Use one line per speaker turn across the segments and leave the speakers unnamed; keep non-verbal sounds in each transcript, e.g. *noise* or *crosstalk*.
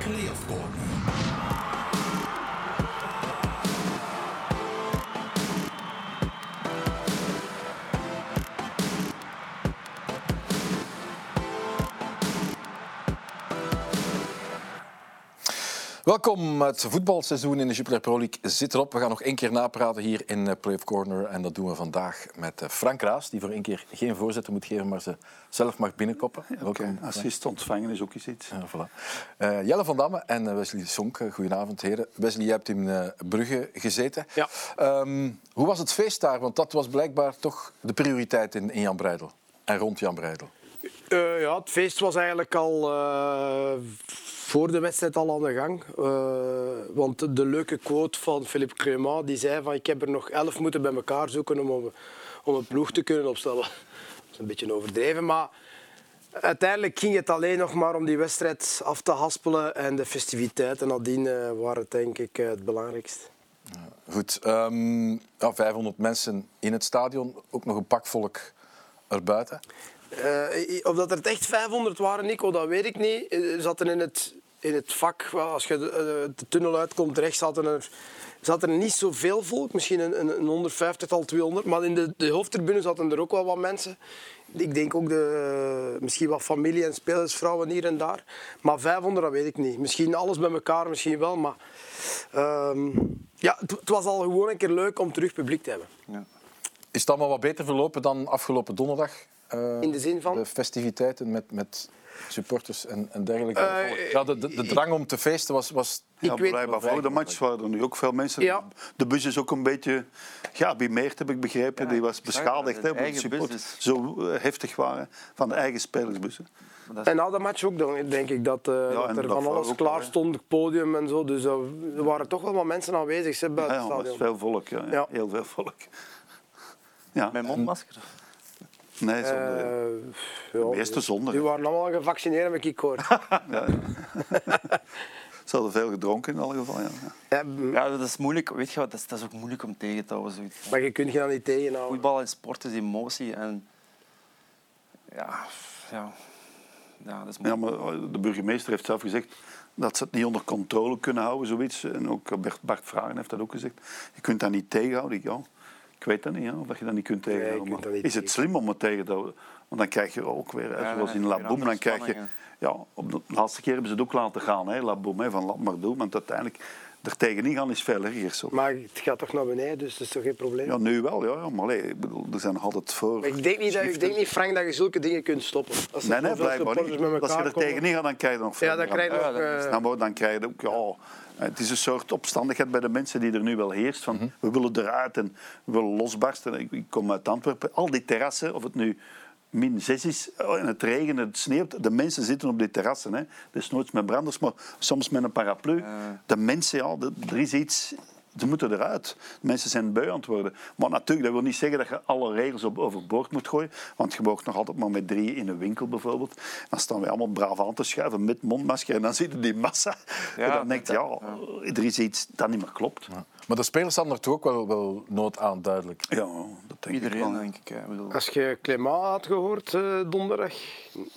city of Courtney.
Welkom. Het voetbalseizoen in de Jupiler Pro League zit erop. We gaan nog één keer napraten hier in eh, Playoff Corner. En dat doen we vandaag met eh, Frank Raas, die voor één keer geen voorzetten moet geven, maar ze zelf mag binnenkoppen. Welkom.
Assist ontvangen is ook eens iets.
Ja, voilà. Eh, Jelle van Damme en eh, Wesley Sonk. Eh, Goedenavond, heren. Wesley, jij hebt in eh, Brugge gezeten.
Ja.
Ehm, hoe was het feest daar? Want dat was blijkbaar toch de prioriteit in, in Jan Breidel. En rond Jan Breidel.
Eh, ja, het feest was eigenlijk al eh, voor de wedstrijd al aan de gang. Eh, want de leuke quote van Philippe Cremant, die zei van ik heb er nog elf moeten bij elkaar zoeken om, om, om een ploeg te kunnen opstellen. *laughs* Dat is een beetje overdreven, maar uiteindelijk ging het alleen nog maar om die wedstrijd af te haspelen. En de festiviteiten nadien eh, waren denk ik eh, het belangrijkste.
Goed. ehm, ja, 500 mensen in het stadion. Ook nog een pak volk erbuiten.
Eh, of dat er het echt 500 waren, Nico, dat weet ik niet. Eh, Er zaten in het, in het vak, wel, als je de, eh, de tunnel uitkomt, rechts zaten er, zat er niet zoveel volk. Misschien een, een, een 150 tal, 200. Maar in de, de hoofdtribune zaten er ook wel wat mensen. Ik denk ook de, eh, misschien wat familie en spelers, vrouwen hier en daar. Maar 500, dat weet ik niet. Misschien alles bij elkaar, misschien wel. Maar ehm, ja, het, het was al gewoon een keer leuk om terug publiek te hebben.
Ja.
Is het allemaal wat beter verlopen dan afgelopen donderdag? Eh,
In de zin van?
De festiviteiten met, met supporters en, en dergelijke.
Eh,
ja, de, de, de drang om te feesten was, was
Ja,
Ik weet-
blijkbaar voor de match waren er nu ook veel mensen.
Ja.
De bus is ook een beetje geabimeerd, heb ik begrepen. Die was
ik zag
beschadigd,
dat,
hè, omdat
een
de
eigen
supporters
business.
zo eh, heftig waren van de eigen spelersbussen.
En na de match ook, dan denk ik dat, eh, dat er
inderdaad,
van
waren
alles
ook wel,
klaar
hè.
stond, podium en zo. Dus eh, er waren toch wel wat mensen aanwezig hè,
Ja,
buiten
ja,
het
dat is
stadion.
veel volk, ja.
Ja.
heel veel volk. Ja,
Mijn mondmasker.
nee, zonder-
Eh, ja,
de meeste zonde.
Die waren allemaal gevaccineerd, heb ik gehoord.
*laughs* Ja. Ze hadden veel gedronken in alle geval. Ja. Ja.
Ja,
Ja, dat is moeilijk. Weet je wat, dat is, dat is ook moeilijk om tegen te houden. zoiets.
maar je kunt je dan niet tegenhouden.
Voetbal en sport is emotie en... Ja, ja. ja dat is
Ja,
moeilijk.
maar eh, de burgemeester heeft zelf gezegd dat ze het niet onder controle kunnen houden, zoiets. En ook Bert, Bart Vragen heeft dat ook gezegd. Je kunt dat niet tegenhouden. Ja, ik weet dat niet, ja, of dat je dat niet kunt tegenhouden.
kunt
maar
dat niet
is het slim om het tegen te houden? Want dan krijg je ook weer, hè,
Ja, dan
zoals
heb
in
je weer
Laboum, dan
andere
krijg je...
spanningen.
Ja, op de laatste keer hebben ze het ook laten gaan, hè, Laboum, hè, van laat maar doen. Want uiteindelijk, er tegenin gaan is veel erger. Zo.
Maar het gaat toch naar beneden, dus dat is toch geen probleem?
Ja, nu wel, ja, ja, maar allee, ik bedoel, er zijn nog altijd voor...
Maar ik, denk niet dat, ik denk niet, Frank, dat je zulke dingen kunt stoppen. Als er
Nee, nee,
zoveel
blijkbaar
supporters
niet.
met
Als je
elkaar
er
komen-
tegenin gaat, dan krijg je nog
Ja, dan
veel.
krijg je nog... eh,
Snap je? Dan krijg je ook, ja, het is een soort opstandigheid bij de mensen die er nu wel heerst. Van, We willen eruit en we willen losbarsten. Ik, ik kom uit Antwerpen. Al die terrassen, of het nu min 6 is oh, en het regent en het sneeuwt, de mensen zitten op die terrassen. Hè. Dus nooit met branders, maar soms met een paraplu. De mensen, ja, de- er is iets... Ze moeten eruit. De mensen zijn beu aan het worden. Maar natuurlijk, dat wil niet zeggen dat je alle regels op, overboord moet gooien. Want je mag nog altijd maar met drie in een winkel bijvoorbeeld. Dan staan wij allemaal braaf aan te schuiven met mondmasker. En dan zit je die massa.
Ja,
en dan
dat-
denkt je, ja, er is iets dat niet meer klopt. Ja,
Maar de spelers hadden er toch ook wel, wel nood aan, duidelijk.
dat denk ik wel.
Iedereen, denk ik. hè. Ik bedoel,
Als je Clément had gehoord eh, donderdag,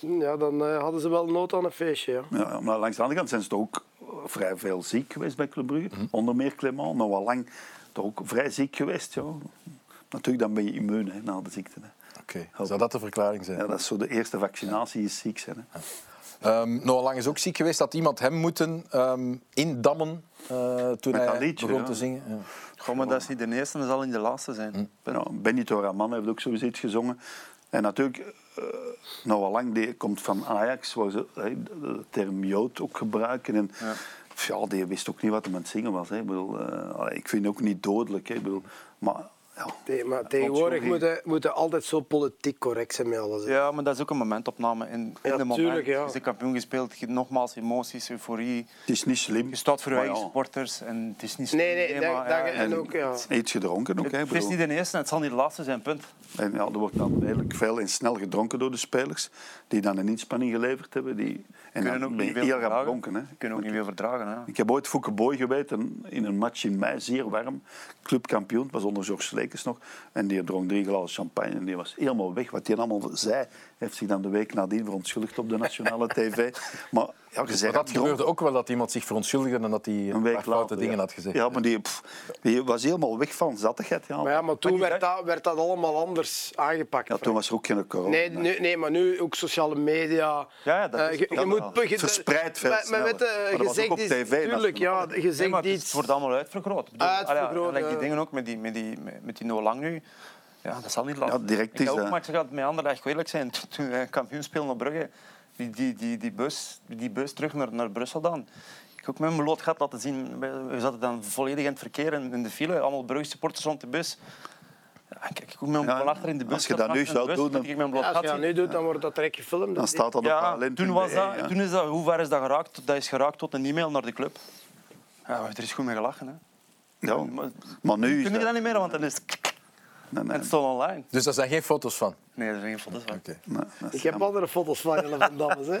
ja, dan eh, hadden ze wel nood aan een feestje. Ja.
Ja, maar langs de andere kant zijn ze toch ook vrij veel ziek geweest bij Club Brugge. Onder meer Clement, maar wel lang toch ook vrij ziek geweest. Ja. Natuurlijk, dan ben je immuun hè, na de ziekte. Hè.
Oké, zou dat de verklaring zijn?
Ja, dat is zo de eerste vaccinatie, is ziek zijn. Hè.
Ehm, Noah Lang is ook ziek geweest. Had iemand hem moeten ehm, indammen eh, toen
Met dat
hij
liedje,
begon
ja.
te zingen? Ja.
goh, maar dat is niet de eerste, dat zal niet de laatste zijn.
Ja, Benito Raman heeft ook sowieso iets gezongen. En natuurlijk, eh Noah Lang die komt van Ajax, waar ze eh, de term Jood ook gebruiken. En, ja. die wist ook niet wat hem aan het zingen was. Hè. Ik, bedoel, eh, allee, ik vind het ook niet dodelijk. Hè. Ik bedoel, maar ja,
Nee, maar tegenwoordig moeten moeten altijd zo politiek correct zijn met alles. hè.
Ja, maar dat is ook een momentopname. In, in
Ja,
de moment.
tuurlijk, ja.
Je is de kampioen gespeeld, je- nogmaals emoties, euforie.
het is niet slim.
Je staat voor je
Maar
eigen
ja,
supporters en het is niet
Nee, nee,
slim,
dat-
maar
dat-
ja,
en
het-
ook, ja.
Iets gedronken ook. Hè. Ik
Het is
bedoel,
niet de eerste en het zal niet de laatste zijn, punt.
En ja, er wordt dan redelijk veel en snel gedronken door de spelers, die dan een inspanning geleverd hebben. Die, en
kunnen
dan
ook
ben je
niet veel
heel rap
verdragen.
dronken. Hè.
kunnen ook niet veel verdragen. Hè.
Ik heb ooit Fouke Boy geweten in een match in mei, zeer warm. Clubkampioen, het was onder George Slekens nog. En die dronk drie glazen champagne en die was
*laughs*
helemaal weg. Wat hij allemaal zei, heeft zich dan de week nadien verontschuldigd op de nationale tv. Maar Ja, je
Dus Maar
zei
dat gebeurde ook wel, dat iemand zich verontschuldigde en dat hij een,
een
paar
week
foute
later.
dingen
ja.
had gezegd.
Ja, maar die, pff, die was helemaal weg van zattigheid. Ja,
Maar ja, maar toen
niet
werd
uit.
dat, werd dat allemaal anders aangepakt.
Ja, toen was er ook geen corona.
Nee, nu, nee, maar nu ook sociale media.
Ja, ja, dat
Eh,
is
je,
het
je
ook
moet
wel.
be- je-
Verspreidt veel
Maar, maar
sneller.
weet, eh,
Maar dat
je
was ook
zegt
op
iets-
tv
Tuurlijk, ja,
natuurlijk.
je
Nee, maar
zegt
het is-
iets.
het wordt allemaal uitvergroot. Ik bedoel, allee,
Uitvergroot,
gelijk die
ja.
dingen ook met die, met die, met met die no lang nu. Ja, dat zal niet lang.
Ja, direct
ik
is
ga ook,
dat.
Maar ik zeg het met anderen echt eerlijk zijn. *laughs* Toen- Toen wij kampioen spelen op Brugge, die, die, die, die, bus, die bus terug naar, naar Brussel dan. Ik heb ook met mijn lood gehad laten zien. We zaten dan volledig in het verkeer, in, in de file. Allemaal Brugge supporters rond de bus. Ja, kijk, ik ook met mijn
Ja,
ja, achter in de bus.
als je dat
zat,
nu
in de
zou
bus,
doen,
dat Ik met mijn bloot
Ja,
gat
Als je dat
zie.
nu doet, dan wordt dat direct gefilmd.
Dan staat dat op
Ja,
ALN.be,
toen, was dat,
ja.
toen is dat, hoe ver is dat geraakt? Dat is geraakt tot een e-mail naar de club. Ja, we hebben er is goed mee gelachen. Hè.
Ja,
Maar-
maar nu is
Kun je dat
dat...
niet meer, want dan is het,
Nee, nee,
het stond online.
Dus daar zijn geen foto's van.
Nee, dat is geen foto's van.
Oké.
nee, dat is
Ik heb
jammer.
andere foto's van Jelle van Damme, hè.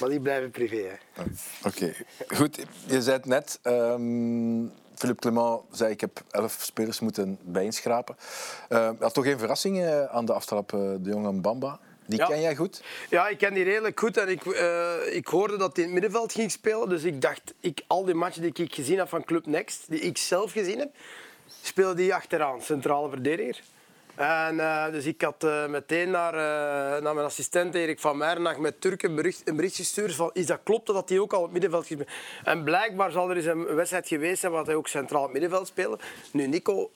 Maar die blijven privé, hè.
Oké. Goed, je zei het net. ehm Philippe Clement zei ik heb elf spelers moeten bijeenschrapen. Eh, had toch geen verrassing eh, aan de aftrap, eh, de jongen Bamba. Die
Ja.
ken jij goed?
Ja, ik ken die redelijk goed en ik, eh, ik hoorde dat hij in het middenveld ging spelen. Dus ik dacht, ik, al die matchen die ik gezien heb van Club Next, die ik zelf gezien heb, speelde die achteraan, centrale verdediger. En, eh, dus ik had eh, meteen naar, eh, naar mijn assistent Erik van Meijernag met Turk een bericht, een bericht gestuurd van is dat klopt dat hij ook al op het middenveld gespeeld En blijkbaar zal er eens een wedstrijd geweest zijn waar hij ook centraal op het middenveld speelde. Nu, Nico,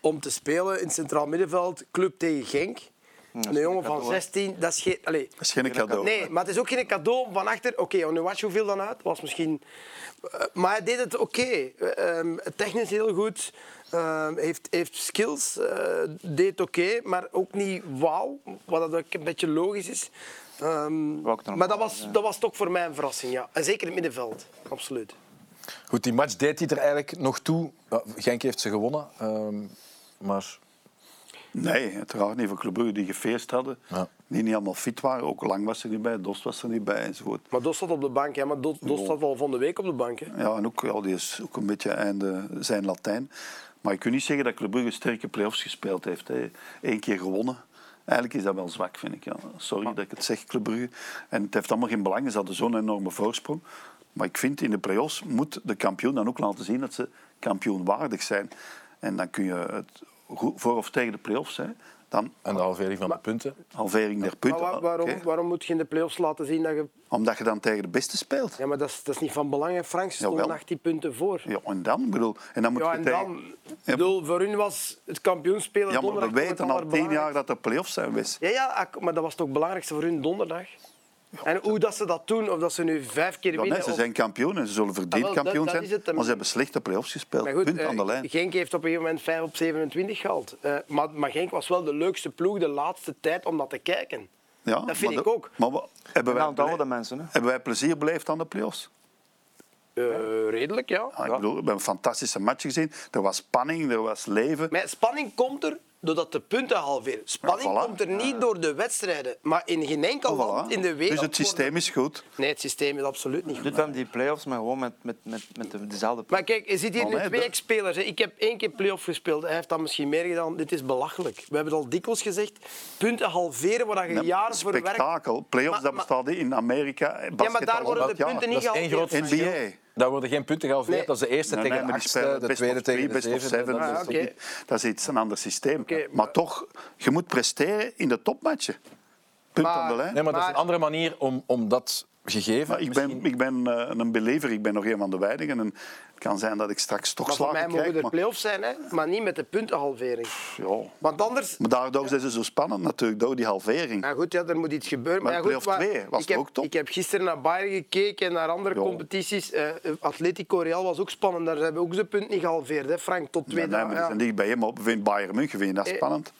om te spelen in het centraal middenveld, club tegen Genk. Een jongen van 16, dat is geen... Allee,
Dat is geen cadeau.
Nee, maar het is ook geen cadeau om van achter. Oké, Onuwachu viel dan uit. Was misschien, eh, maar hij deed het oké. Ehm, technisch heel goed. Ehm, heeft, heeft skills. eh, deed het oké, maar ook niet wauw. Wat dat ook een beetje logisch is. Ehm,
Wou ik dan
maar dat
ook
was, dat was toch voor mij een verrassing. Ja. En zeker in het middenveld. Absoluut.
Goed, die match deed hij er eigenlijk nog toe. Ja, Genk heeft ze gewonnen. ehm, maar
Nee, uiteraard niet. Voor Club Brugge die gefeest hadden,
Ja.
die niet allemaal fit waren. Ook Lang was er niet bij, Dost was er niet bij enzovoort.
Maar Dos zat op de bank. Hè. Maar Dos, Dos zat al van de week op de bank. Hè.
Ja, en ook, ja, die is ook een beetje einde zijn Latijn. Maar je kunt niet zeggen dat Club Brugge sterke play-offs gespeeld heeft. Hè. Eén keer gewonnen. Eigenlijk is dat wel zwak, vind ik. Ja. Sorry dat ik het zeg, Club Brugge. En het heeft allemaal geen belang. Ze hadden zo'n enorme voorsprong. Maar ik vind, in de play-offs moet de kampioen dan ook laten zien dat ze kampioenwaardig zijn. En dan kun je het goed- voor of tegen de play-offs... Hè, dan
aan de halvering van de punten.
halvering der punten.
Maar wa- waarom,
Ah, Oké.
waarom moet je in de play-offs laten zien dat je...
Omdat je dan tegen de beste speelt.
Ja, maar dat is, dat is niet van belang. hè. Frank ze stonden
Jawel.
18 punten voor.
Ja, en dan? Ik Bedoel, en dan moet
Ja,
je
en
tegen...
dan, ik bedoel, voor hun was het kampioenspelen
Ja, maar
donderdag
we
toch het
weten al tien
allerbelangrijk-
jaar dat er play-offs zijn, Wes.
Ja, ja, ak- maar dat was toch het belangrijkste voor hun donderdag. En hoe dat ze dat doen, of dat ze nu vijf keer
Ja,
winnen...
nee, ze
of-
zijn kampioen en ze zullen verdiend
Ah, wel, dat-
kampioen
dat
zijn.
is het, hè.
Maar ze hebben slechte play-offs gespeeld.
Maar goed,
Punt
eh,
aan de lijn.
Genk heeft op een gegeven moment 5 op 27 gehaald. Eh, maar, maar Genk was wel de leukste ploeg de laatste tijd om dat te kijken.
Ja,
dat vind
maar
ik
de-
ook.
Maar wa- hebben,
En
wij
dan onthouden
ple-
Nou, dat mensen, hè.
hebben wij plezier beleefd aan de play-offs?
Eh, redelijk, ja.
Ah, ik bedoel, we hebben een fantastische match gezien. Er was spanning, er was leven.
Maar spanning komt er doordat de punten halveren. Spanning
Ja, voilà.
komt er niet door de wedstrijden. Maar in geen enkel land
Voilà.
in de wereld...
Dus het systeem Dus- is goed.
Nee, het systeem is absoluut niet goed.
Doe dan die play-offs, maar gewoon met, met, met, met de- dezelfde
Maar kijk, je ziet hier
Maar
nu
nee,
twee
dat-
ex-spelers. hè. Ik heb één keer play-off gespeeld. Hij heeft dat misschien meer gedaan. Dit is belachelijk. We hebben het al dikwijls gezegd. Punten halveren waar je jaren voor werkt.
Spektakel. Play-offs,
Maar-
dat
maar-
bestaat in Amerika.
Ja, maar daar worden de punten niet
Dat is één
gehalveerd.
groot
Frank.
NBA.
Daar worden geen punten gehalveerd.
Nee.
Dat is de eerste
Nee,
tegen
nee,
de
maar die
achtste,
spelen
de
best
tweede
of three,
tegen de
best of
zevende.
seven.
Dat
Ah,
is-
dat, is
oké.
toch niet- dat is iets, een ander systeem.
Oké,
maar,
maar-
toch, je moet presteren in de topmatchen. Punt
Maar-
aan de lijn.
Nee, maar dat is een
Maar-
andere manier om, om dat gegeven...
Maar ik ben, ik ben eh, een believer, ik ben nog een van de weinigen. En het kan zijn dat ik straks toch
Maar voor mij
slagen
mogen
krijg.
er
Maar,
play-offs zijn, hè? maar niet met de puntenhalvering.
ja.
Want anders...
maar daardoor zijn ze zo spannend natuurlijk, door die halvering.
Ja, Nou goed, ja, er moet iets gebeuren. Maar,
Maar
ja, goed,
play-off twee was
ik heb,
ook top.
Ik heb gisteren naar Bayern gekeken en naar andere
Ja.
competities. Eh, Atletico Real was ook spannend. Daar hebben we ook de punt niet gehalveerd, hè, Frank. Tot
Nee,
twee
nee, maar
dagen.
die zijn
Ja.
dicht bij hem op. Vind Bayern München, vind je dat spannend?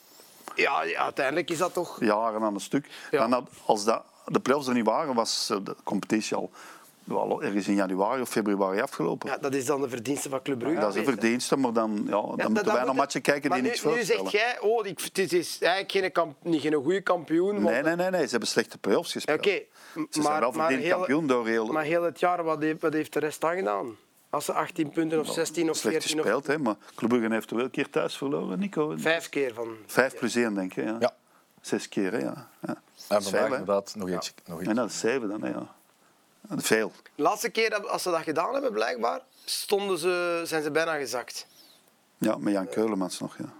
Ja, ja, uiteindelijk is dat toch...
Jaren aan een stuk.
Ja.
Dan had- als dat, de play-offs er niet waren, was eh, de competitie al wel ergens in januari of februari afgelopen.
Ja, dat is dan de verdienste van Club Brugge.
dat is een
geweest, hè.
verdienste, maar dan, ja, dan
Ja,
moeten
dat-
wij
dat
naar
moet het-
matchen kijken
Maar
die
nu,
niks voorstellen.
Nu zegt jij, oh, ik, het is eigenlijk geen, kamp, niet, geen goede kampioen. want-
Nee, nee, nee, nee, ze hebben slechte play-offs gespeeld.
Oké,
Ze zijn wel verdiend kampioen door heel...
Maar heel het jaar, wat heeft, wat heeft de rest dan gedaan? Als ze 18 punten
Nou,
of 16 of
Slecht
14 of
gespeeld, hè, maar Club Brugge heeft er wel een keer thuis verloren, Nico.
vijf keer van.
Vijf plus één, denk ik. Ja.
Ja.
Zes keer, hè, ja. ja.
En
Dat is
vandaag
veel, hè.
inderdaad nog iets. Nog iets.
En dat is zeven dan, hè, ja. Dat is Veel.
De laatste keer dat- als ze dat gedaan hebben, blijkbaar, stonden ze, zijn ze bijna gezakt.
Ja, met Jan Keulemans nog, ja.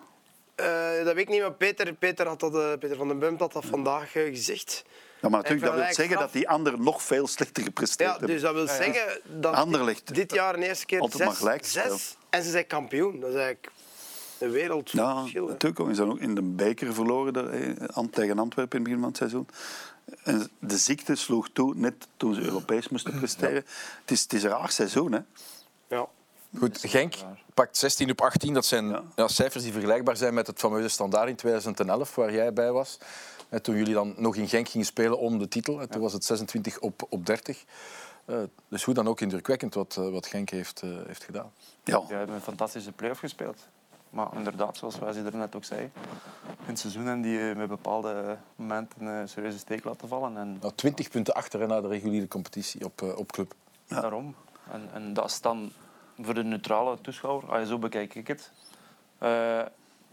Eh, dat weet ik niet, maar Peter, Peter, had dat, eh, Peter van den Bump had dat vandaag eh, gezegd.
Ja, maar
Ik
natuurlijk, dat
vind het
wil
eigenlijk
zeggen dat
straf.
die ander nog veel slechter gepresteerd
Ja,
hebben.
dus dat wil zeggen dat
Anderlecht.
dit jaar een eerste keer
Altijd
zes,
maar gelijk
zes
gespeeld.
en ze zijn kampioen. Dat is eigenlijk een
Ja,
wereldverschil. hè.
natuurlijk. ook. Ze zijn ook in de beker verloren daar, eh, Ant- tegen Antwerpen in het begin van het seizoen. En de ziekte sloeg toe, net toen ze Europees moesten presteren. Het, is, het is een raar seizoen, hè.
ja.
Goed, Genk pakt 16 op 18. Dat zijn ja.
Ja.
cijfers die vergelijkbaar zijn met het fameuze standaard in 2011, waar jij bij was. En toen jullie dan nog in Genk gingen spelen om de titel. En toen was het 26 op, op 30. Eh, dus hoe dan ook indrukwekkend wat, eh, wat Genk heeft, eh, heeft gedaan.
Ja,
Ja, we hebben een fantastische play-off gespeeld. Maar inderdaad, zoals wij ze er net ook zei, in het seizoen hebben die eh, met bepaalde eh, momenten een serieuze steek laten vallen. En
Nou, 20 punten achter hè, na de reguliere competitie op, eh, op club.
daarom. En, en dat is dan voor de neutrale toeschouwer, ah, zo bekijk ik het, eh,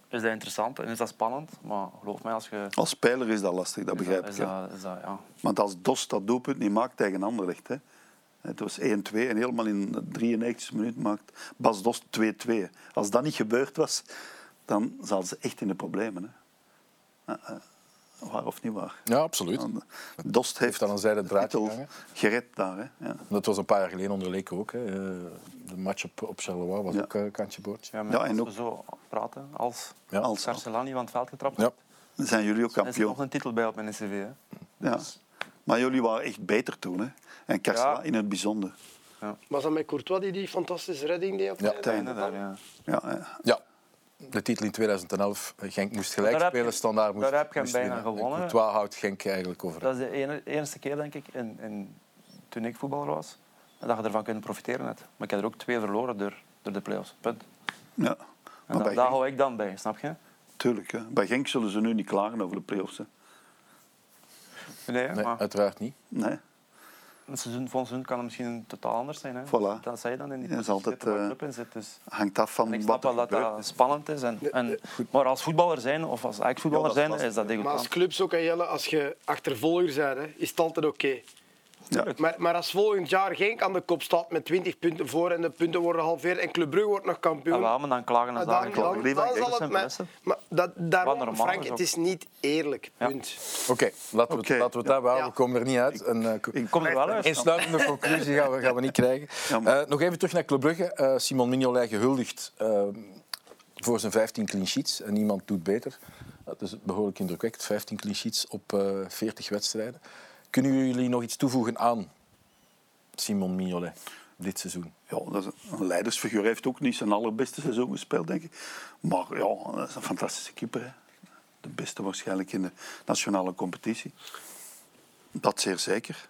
is dat interessant en is dat spannend. Maar geloof mij, als je...
als speler is dat lastig, dat begrijp ik.
is
ja.
dat, is dat, ja.
Want als Dos dat doelpunt niet maakt tegen Anderlecht, hè. Het was 1-2 en helemaal in de 93 minuut maakt Bas Dos 2-2. Als dat niet gebeurd was, dan zaten ze echt in de problemen. Hè. Eh, eh, waar of niet waar.
Ja, absoluut.
Want Dost heeft
dan een zijden
de
draadje
titel
gehangen.
gered daar. Hè? Ja.
Dat was een paar jaar geleden onder Leko ook. Hè. Eh, De match op, op Charleroi was
Ja.
ook eh, kantje boordje.
Ja, maar
Ja,
als
en
we
ook-
zo praten, als
Ja.
Als-
Sarcelani van het veld getrapt
Ja.
wordt,
Zijn jullie ook
dan is er nog
kampioen?
een titel bij op mijn cv. Hè.
Ja. Maar jullie waren echt beter toen. Hè? En Karsla
Ja.
in het bijzonder.
Was dat met Courtois die die fantastische redding deed? op
Ja,
het einde?
Tijn.
Inderdaad, ja.
Ja, ja.
Ja, de titel in 2011. Genk moest gelijk
Daar heb
spelen,
je-
standaard moest
daar heb je
moest
bijna
winnen. En
gewonnen.
Courtois houdt Genk eigenlijk over.
Dat is de ene- eerste keer, denk ik, in, in, toen ik voetballer was, dat je ervan kunt profiteren net. Maar ik heb er ook twee verloren door, door de play-offs. Punt.
ja.
En
Maar
da-
Ah, bij
daar
Genk,
hou ik dan bij, snap je?
tuurlijk, hè. bij Genk zullen ze nu niet klagen over de play-offs. Hè.
Nee,
Nee,
maar
uiteraard niet.
Nee.
het seizoen, volgend seizoen kan het misschien totaal anders zijn. Hè?
Voilà.
Dat zij dan in die
Ja, is
positie
altijd,
zitten waar
eh,
club in zit. Dus.
Hangt af van
En ik snap
wat er
wel dat
gebeurt.
dat spannend is. En, en, maar als voetballer zijn, of als ex-voetballer
Ja, dat is
zijn,
lastig.
is dat
Maar als
degoutant.
clubs ook, hè, Jelle, als je achtervolger bent, hè, is het altijd oké.
eh,
Ja.
Maar, maar als volgend jaar Genk aan de kop staat met 20 punten voor en de punten worden halveerd en Club Brugge wordt nog kampioen...
En waarom dan klagen
Ah,
als
dan,
daar
klopt.
dan,
Die van
dan
Genk
zal
zijn
het mij-
beste.
Maar dat,
Wat
daarom,
normaal
Frank,
is
het
ook.
is niet eerlijk.
Ja.
Punt.
Oké, laten, we het-
Oké.
laten we het daarbij houden.
Ja.
We komen er niet uit. Een eh, co-
Kom er wel uit.
insluitende conclusie gaan we, gaan we niet krijgen.
Ja, maar-
Eh, nog even terug naar Club Brugge. Eh, Simon Mignolet gehuldigd eh, voor zijn 15 clean sheets. En niemand doet beter. Dat is behoorlijk indrukwekkend. 15 clean sheets op eh, 40 wedstrijden. Kunnen jullie nog iets toevoegen aan Simon Mignolet dit seizoen?
Ja, dat is een- een leidersfiguur. Hij heeft ook niet zijn allerbeste seizoen gespeeld, denk ik. Maar ja, dat is een fantastische keeper. Hè. De beste waarschijnlijk in de nationale competitie. Dat zeer zeker.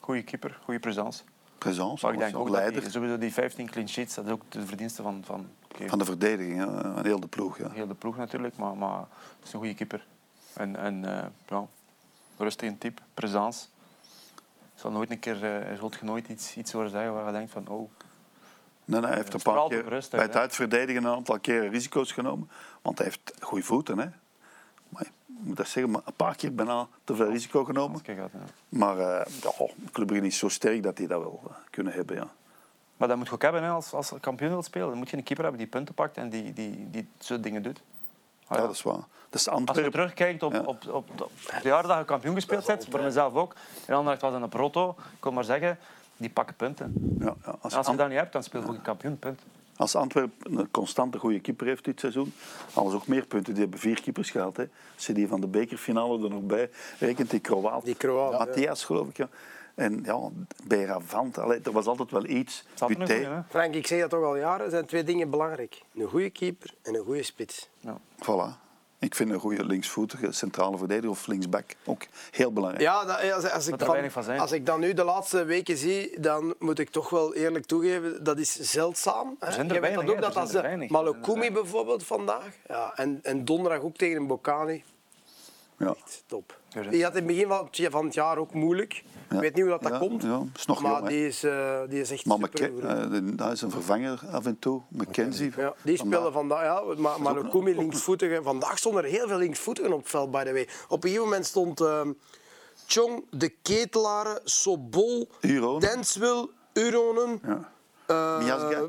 Goeie keeper, goede presence.
Présence,
Maar ik
als
denk ook dat
leider
die, sowieso die 15 clean sheets, dat is ook de verdienste van, van, oké,
van de verdediging, hè, van heel de ploeg. Ja.
heel de ploeg natuurlijk, maar, maar het is een goede keeper. En, en eh ja, rustig een type, presence. Ik zal nooit een keer, eh, er zult je nooit iets, iets horen zeggen waar je denkt van, oh,
Nee, nee, hij heeft een
straalt
paar
ook
keer
rust uit,
bij het
hè.
uitverdedigen een aantal keer risico's genomen. Want hij heeft goede voeten. Hè. Maar, ik moet dat zeggen, maar een paar keer bijna te veel risico genomen.
als je gaat. Ja.
Maar eh ja, Club Brugge is zo sterk dat hij dat wel eh, kunnen hebben. Ja.
Maar dat moet je ook hebben hè, als, als je kampioen wilt spelen. Dan moet je een keeper hebben die punten pakt en die, die, die zo'n dingen doet. Ah,
Ja,
ja.
dat is waar. Dat is
Als je
Antwerpen.
terugkijkt op,
Ja.
op, op, op het jaar dat je kampioen gespeeld bent, voor mezelf ook, en Anderlecht was in de proto, ik wil maar zeggen, die pakken punten.
Ja, ja, als,
En als je
Ant-
dat niet hebt, dan speel je ook een kampioen, punt.
als Antwerpen een constante goede keeper heeft dit seizoen, alles ook meer punten. Die hebben vier keepers gehad. Hè. Als je die van de bekerfinale er nog bij rekent, die Kroaat.
Die Kroaat, ja.
Matthias, geloof ik. Ja. En ja, Beiravant, allee, er was altijd wel iets.
Staat er een
Buté.
goeie, hè?
Frank, ik zeg dat toch al jaren, er zijn twee dingen belangrijk. Een goede keeper en een goede spits.
Ja.
Voilà. Ik vind een goede linksvoetige centrale verdediger of linksback ook heel belangrijk.
Ja, dat, als, als, ik
er weinig van zijn.
als ik dat nu de laatste weken zie, dan moet ik toch wel eerlijk toegeven, dat is zeldzaam. Hè.
Er zijn er
Je weet dat
weinig,
ook,
hè.
dat
Er zijn
dat
er
ze-
weinig. Er zijn er
Malokumi
weinig.
bijvoorbeeld vandaag. Ja, en, en donderdag ook tegen een Bocani.
Ja.
Top. Die had in het begin van, van het jaar ook moeilijk. Ik weet niet hoe dat, dat
Ja,
komt.
ja, is nog
maar
jong, hè.
die, is, eh, die is echt
Maar
super.
McKe- eh, de- dat is een vervanger af en toe, McKenzie.
Ja, die speelde vandaag, ja, maar, maar
ook een-
Lukumi
ook een-
linksvoetigen. Vandaag stonden er heel veel linksvoetigen op het veld, by the way. Op een gegeven moment stond ehm, Chong, De Ketelaren, Sobol,
Uronen.
Denswil, Uronen.
Ja.
eh,
Miasga.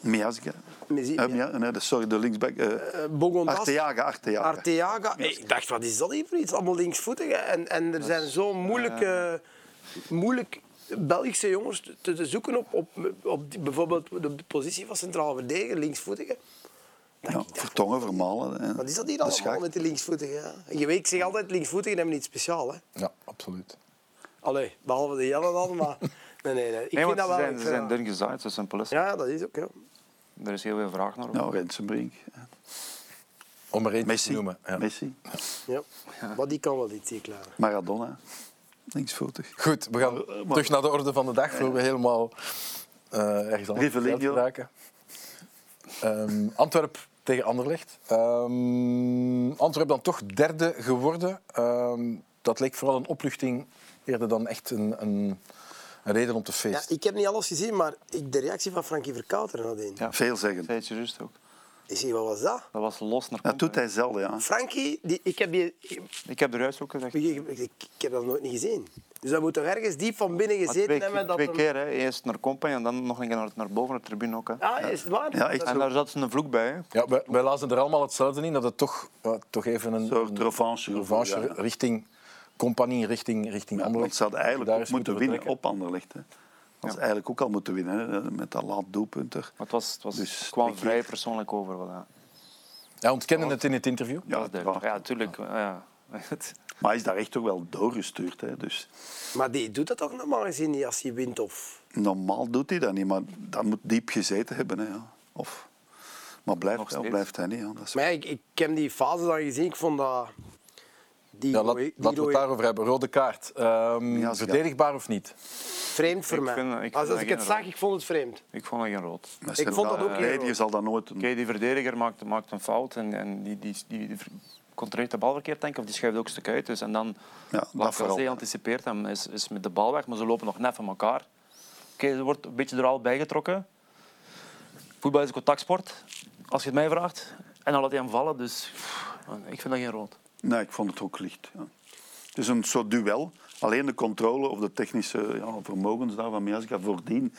Miasga.
Mizi-
Eh, Mia- nee, dat is- sorry, de linksback. eh,
eh, Bogondas,
Arteaga, Arteaga.
Arteaga. Ik dacht, wat is dat hier voor iets? Allemaal linksvoetigen. En, en er zijn zo moeilijke,
eh,
moeilijk Belgische jongens te- te, te zoeken op, op, op die- bijvoorbeeld de positie van centraal verdediger, linksvoetigen.
Ja, Vertongen, Vermalen. eh.
Wat is dat hier
is
allemaal
gek.
met de linksvoetigen? hè? Je weet, ik zeg altijd, linksvoetigen hebben iets speciaals. Hè?
Ja, absoluut.
Allee, behalve de Jelle dan,
*laughs*
maar... Nee, nee, nee. Ik
nee,
vind
want
dat
ze
wel...
zijn,
ik
ze
vind
zijn
dat-
dun gezaaid, zo simpel is het.
Ja, ja, dat is ook, ja.
Er is heel veel vraag naar.
Nou, Rensenbrink.
Om er één te
Messi.
noemen. Ja.
Messi.
ja. Maar die kan wel iets, die klaar.
Maradona. Linksvoetig.
Goed, we gaan
maar-
terug naar de orde van de dag voor we helemaal eh, ergens anders
Rivellino.
veld raken. Ehm Antwerp tegen Anderlecht. Ehm Antwerp dan toch derde geworden. Ehm, dat leek vooral een opluchting eerder dan echt een, een, een reden om te
Ja,
feesten.
ik heb niet alles gezien, maar ik, de reactie van Frankie Verkouter er nadien.
Ja.
Veel zeggen.
Zei het je juist ook.
Ik zeg, wat was dat?
Dat was los naar
Dat doet
kant,
hij zelden, ja.
Frankie, die, ik, heb die, ik,
hè. Ik heb er juist ook gezegd.
ik- ik- ik heb dat nooit niet gezien. Dus dat moet toch ergens diep van binnen
Maar
gezeten
twee
hebben? Dat
twee
hem-
keer, hè. eerst naar Company en dan nog een keer naar, naar boven, naar de tribune ook. Hè.
Ah, is het waar?
Ja, echt
En daar zat ze een vloek bij. Hè.
Ja, wij, wij lazen er allemaal hetzelfde in, dat het toch, eh, toch even een,
Een soort
een
revanche.
revanche eh,
Ja.
richting compagnie, richting, richting
Ja, want
Anderlecht.
ze hadden eigenlijk
Daar
ook
eens
moeten, winnen
vertrekken.
op Anderlecht. Hè. Had ze eigenlijk ook al moeten winnen, hè, met dat laat doelpunt er.
Maar het, was, het, was,
Dus
het kwam
twee keer.
vrij persoonlijk over. Wel, ja.
Ja, ontkennen het in het interview.
Ja,
dat is duidelijk. Ja,
uiteraard.
natuurlijk. Ja. *laughs*
Maar hij is daar echt toch wel doorgestuurd. Hè. Dus
Maar die doet dat toch normaal gezien niet als hij wint of...
normaal doet hij dat niet, maar dat moet diep gezeten hebben. Hè, ja. of, maar
Nog
blijft, hij, of
steeds.
blijft hij niet. Ja. Dat is-
Maar ja, ik, ik heb die fase dan gezien, ik vond dat... Die
Ja, laat,
rode-
laten
die
we het
rode-
daarover hebben. Rode kaart. Ehm,
Ja, ze-
verdedigbaar of niet?
vreemd voor
Ik
mij.
vind- ik vind
als
dat
als ik
geen
het zag,
rood.
ik vond het vreemd.
Ik vond dat geen rood.
dat is
ik vond dat
inderdaad-
ook
Nee,
heel
die zal dat nooit...
Oké, die verdediger maakt, maakt een fout en, en die, die, die, die ver- controleert de bal verkeerd, denk ik, of die schuift ook een stuk uit. Dus, en dan,
dat
wat
vooral.
Frazee anticipeert hem, is, is met de bal weg, maar ze lopen nog net van elkaar. Oké, ze wordt een beetje er al bij getrokken. Voetbal is een contactsport, als je het mij vraagt. En dan laat hij hem vallen, dus pff, ik vind dat geen rood.
Nee, ik vond het ook licht. Ja. Het is een soort duel. Alleen de controle of de technische ja, vermogens daar van Miasga voordien.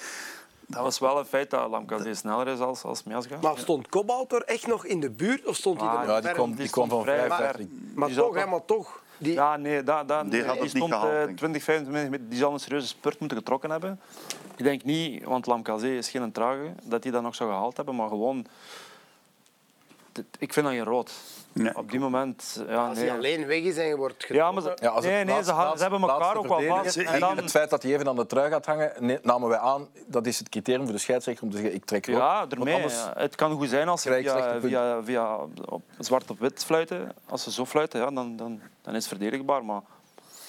Dat was wel een feit dat Lamkazé sneller is als, als Miasga.
Maar stond Kobalter echt nog in de buurt of stond hij er
Ah,
nog
Ja, die
ver?
kwam- die kwam van
vrij
vijf,
ver.
vijf.
Maar
Die zal
toch, hè, maar toch. Die,
Ja, nee, dat, dat,
Die had het niet
stond
gehaald,
eh,
denk ik.
20, 25 minuten. Die zal een serieuze spurt moeten getrokken hebben. Ik denk niet, want Lamkazé is geen trage, dat hij dat nog zou gehaald hebben. Maar gewoon... dit- Ik vind dat geen rood.
Nee.
Op die moment... Ja,
als
nee.
hij alleen weg is en je wordt
Ja, maar ze,
Ja, als het
nee, nee,
laatste-
ze, ha- ze
laatste-
hebben elkaar
laatste
ook wel
verdediger
vast.
is,
En dan,
Het feit dat hij even aan de trui gaat hangen, ne- namen wij aan, dat is het criterium voor de scheidsrechter om te zeggen, ik trek rood.
ja,
Want
ermee.
anders-
ja. Het kan goed zijn als ze
krijg je
via,
slechte
via, via op, zwart op wit fluiten. Als ze zo fluiten, ja, dan, dan, dan is het verdedigbaar. Maar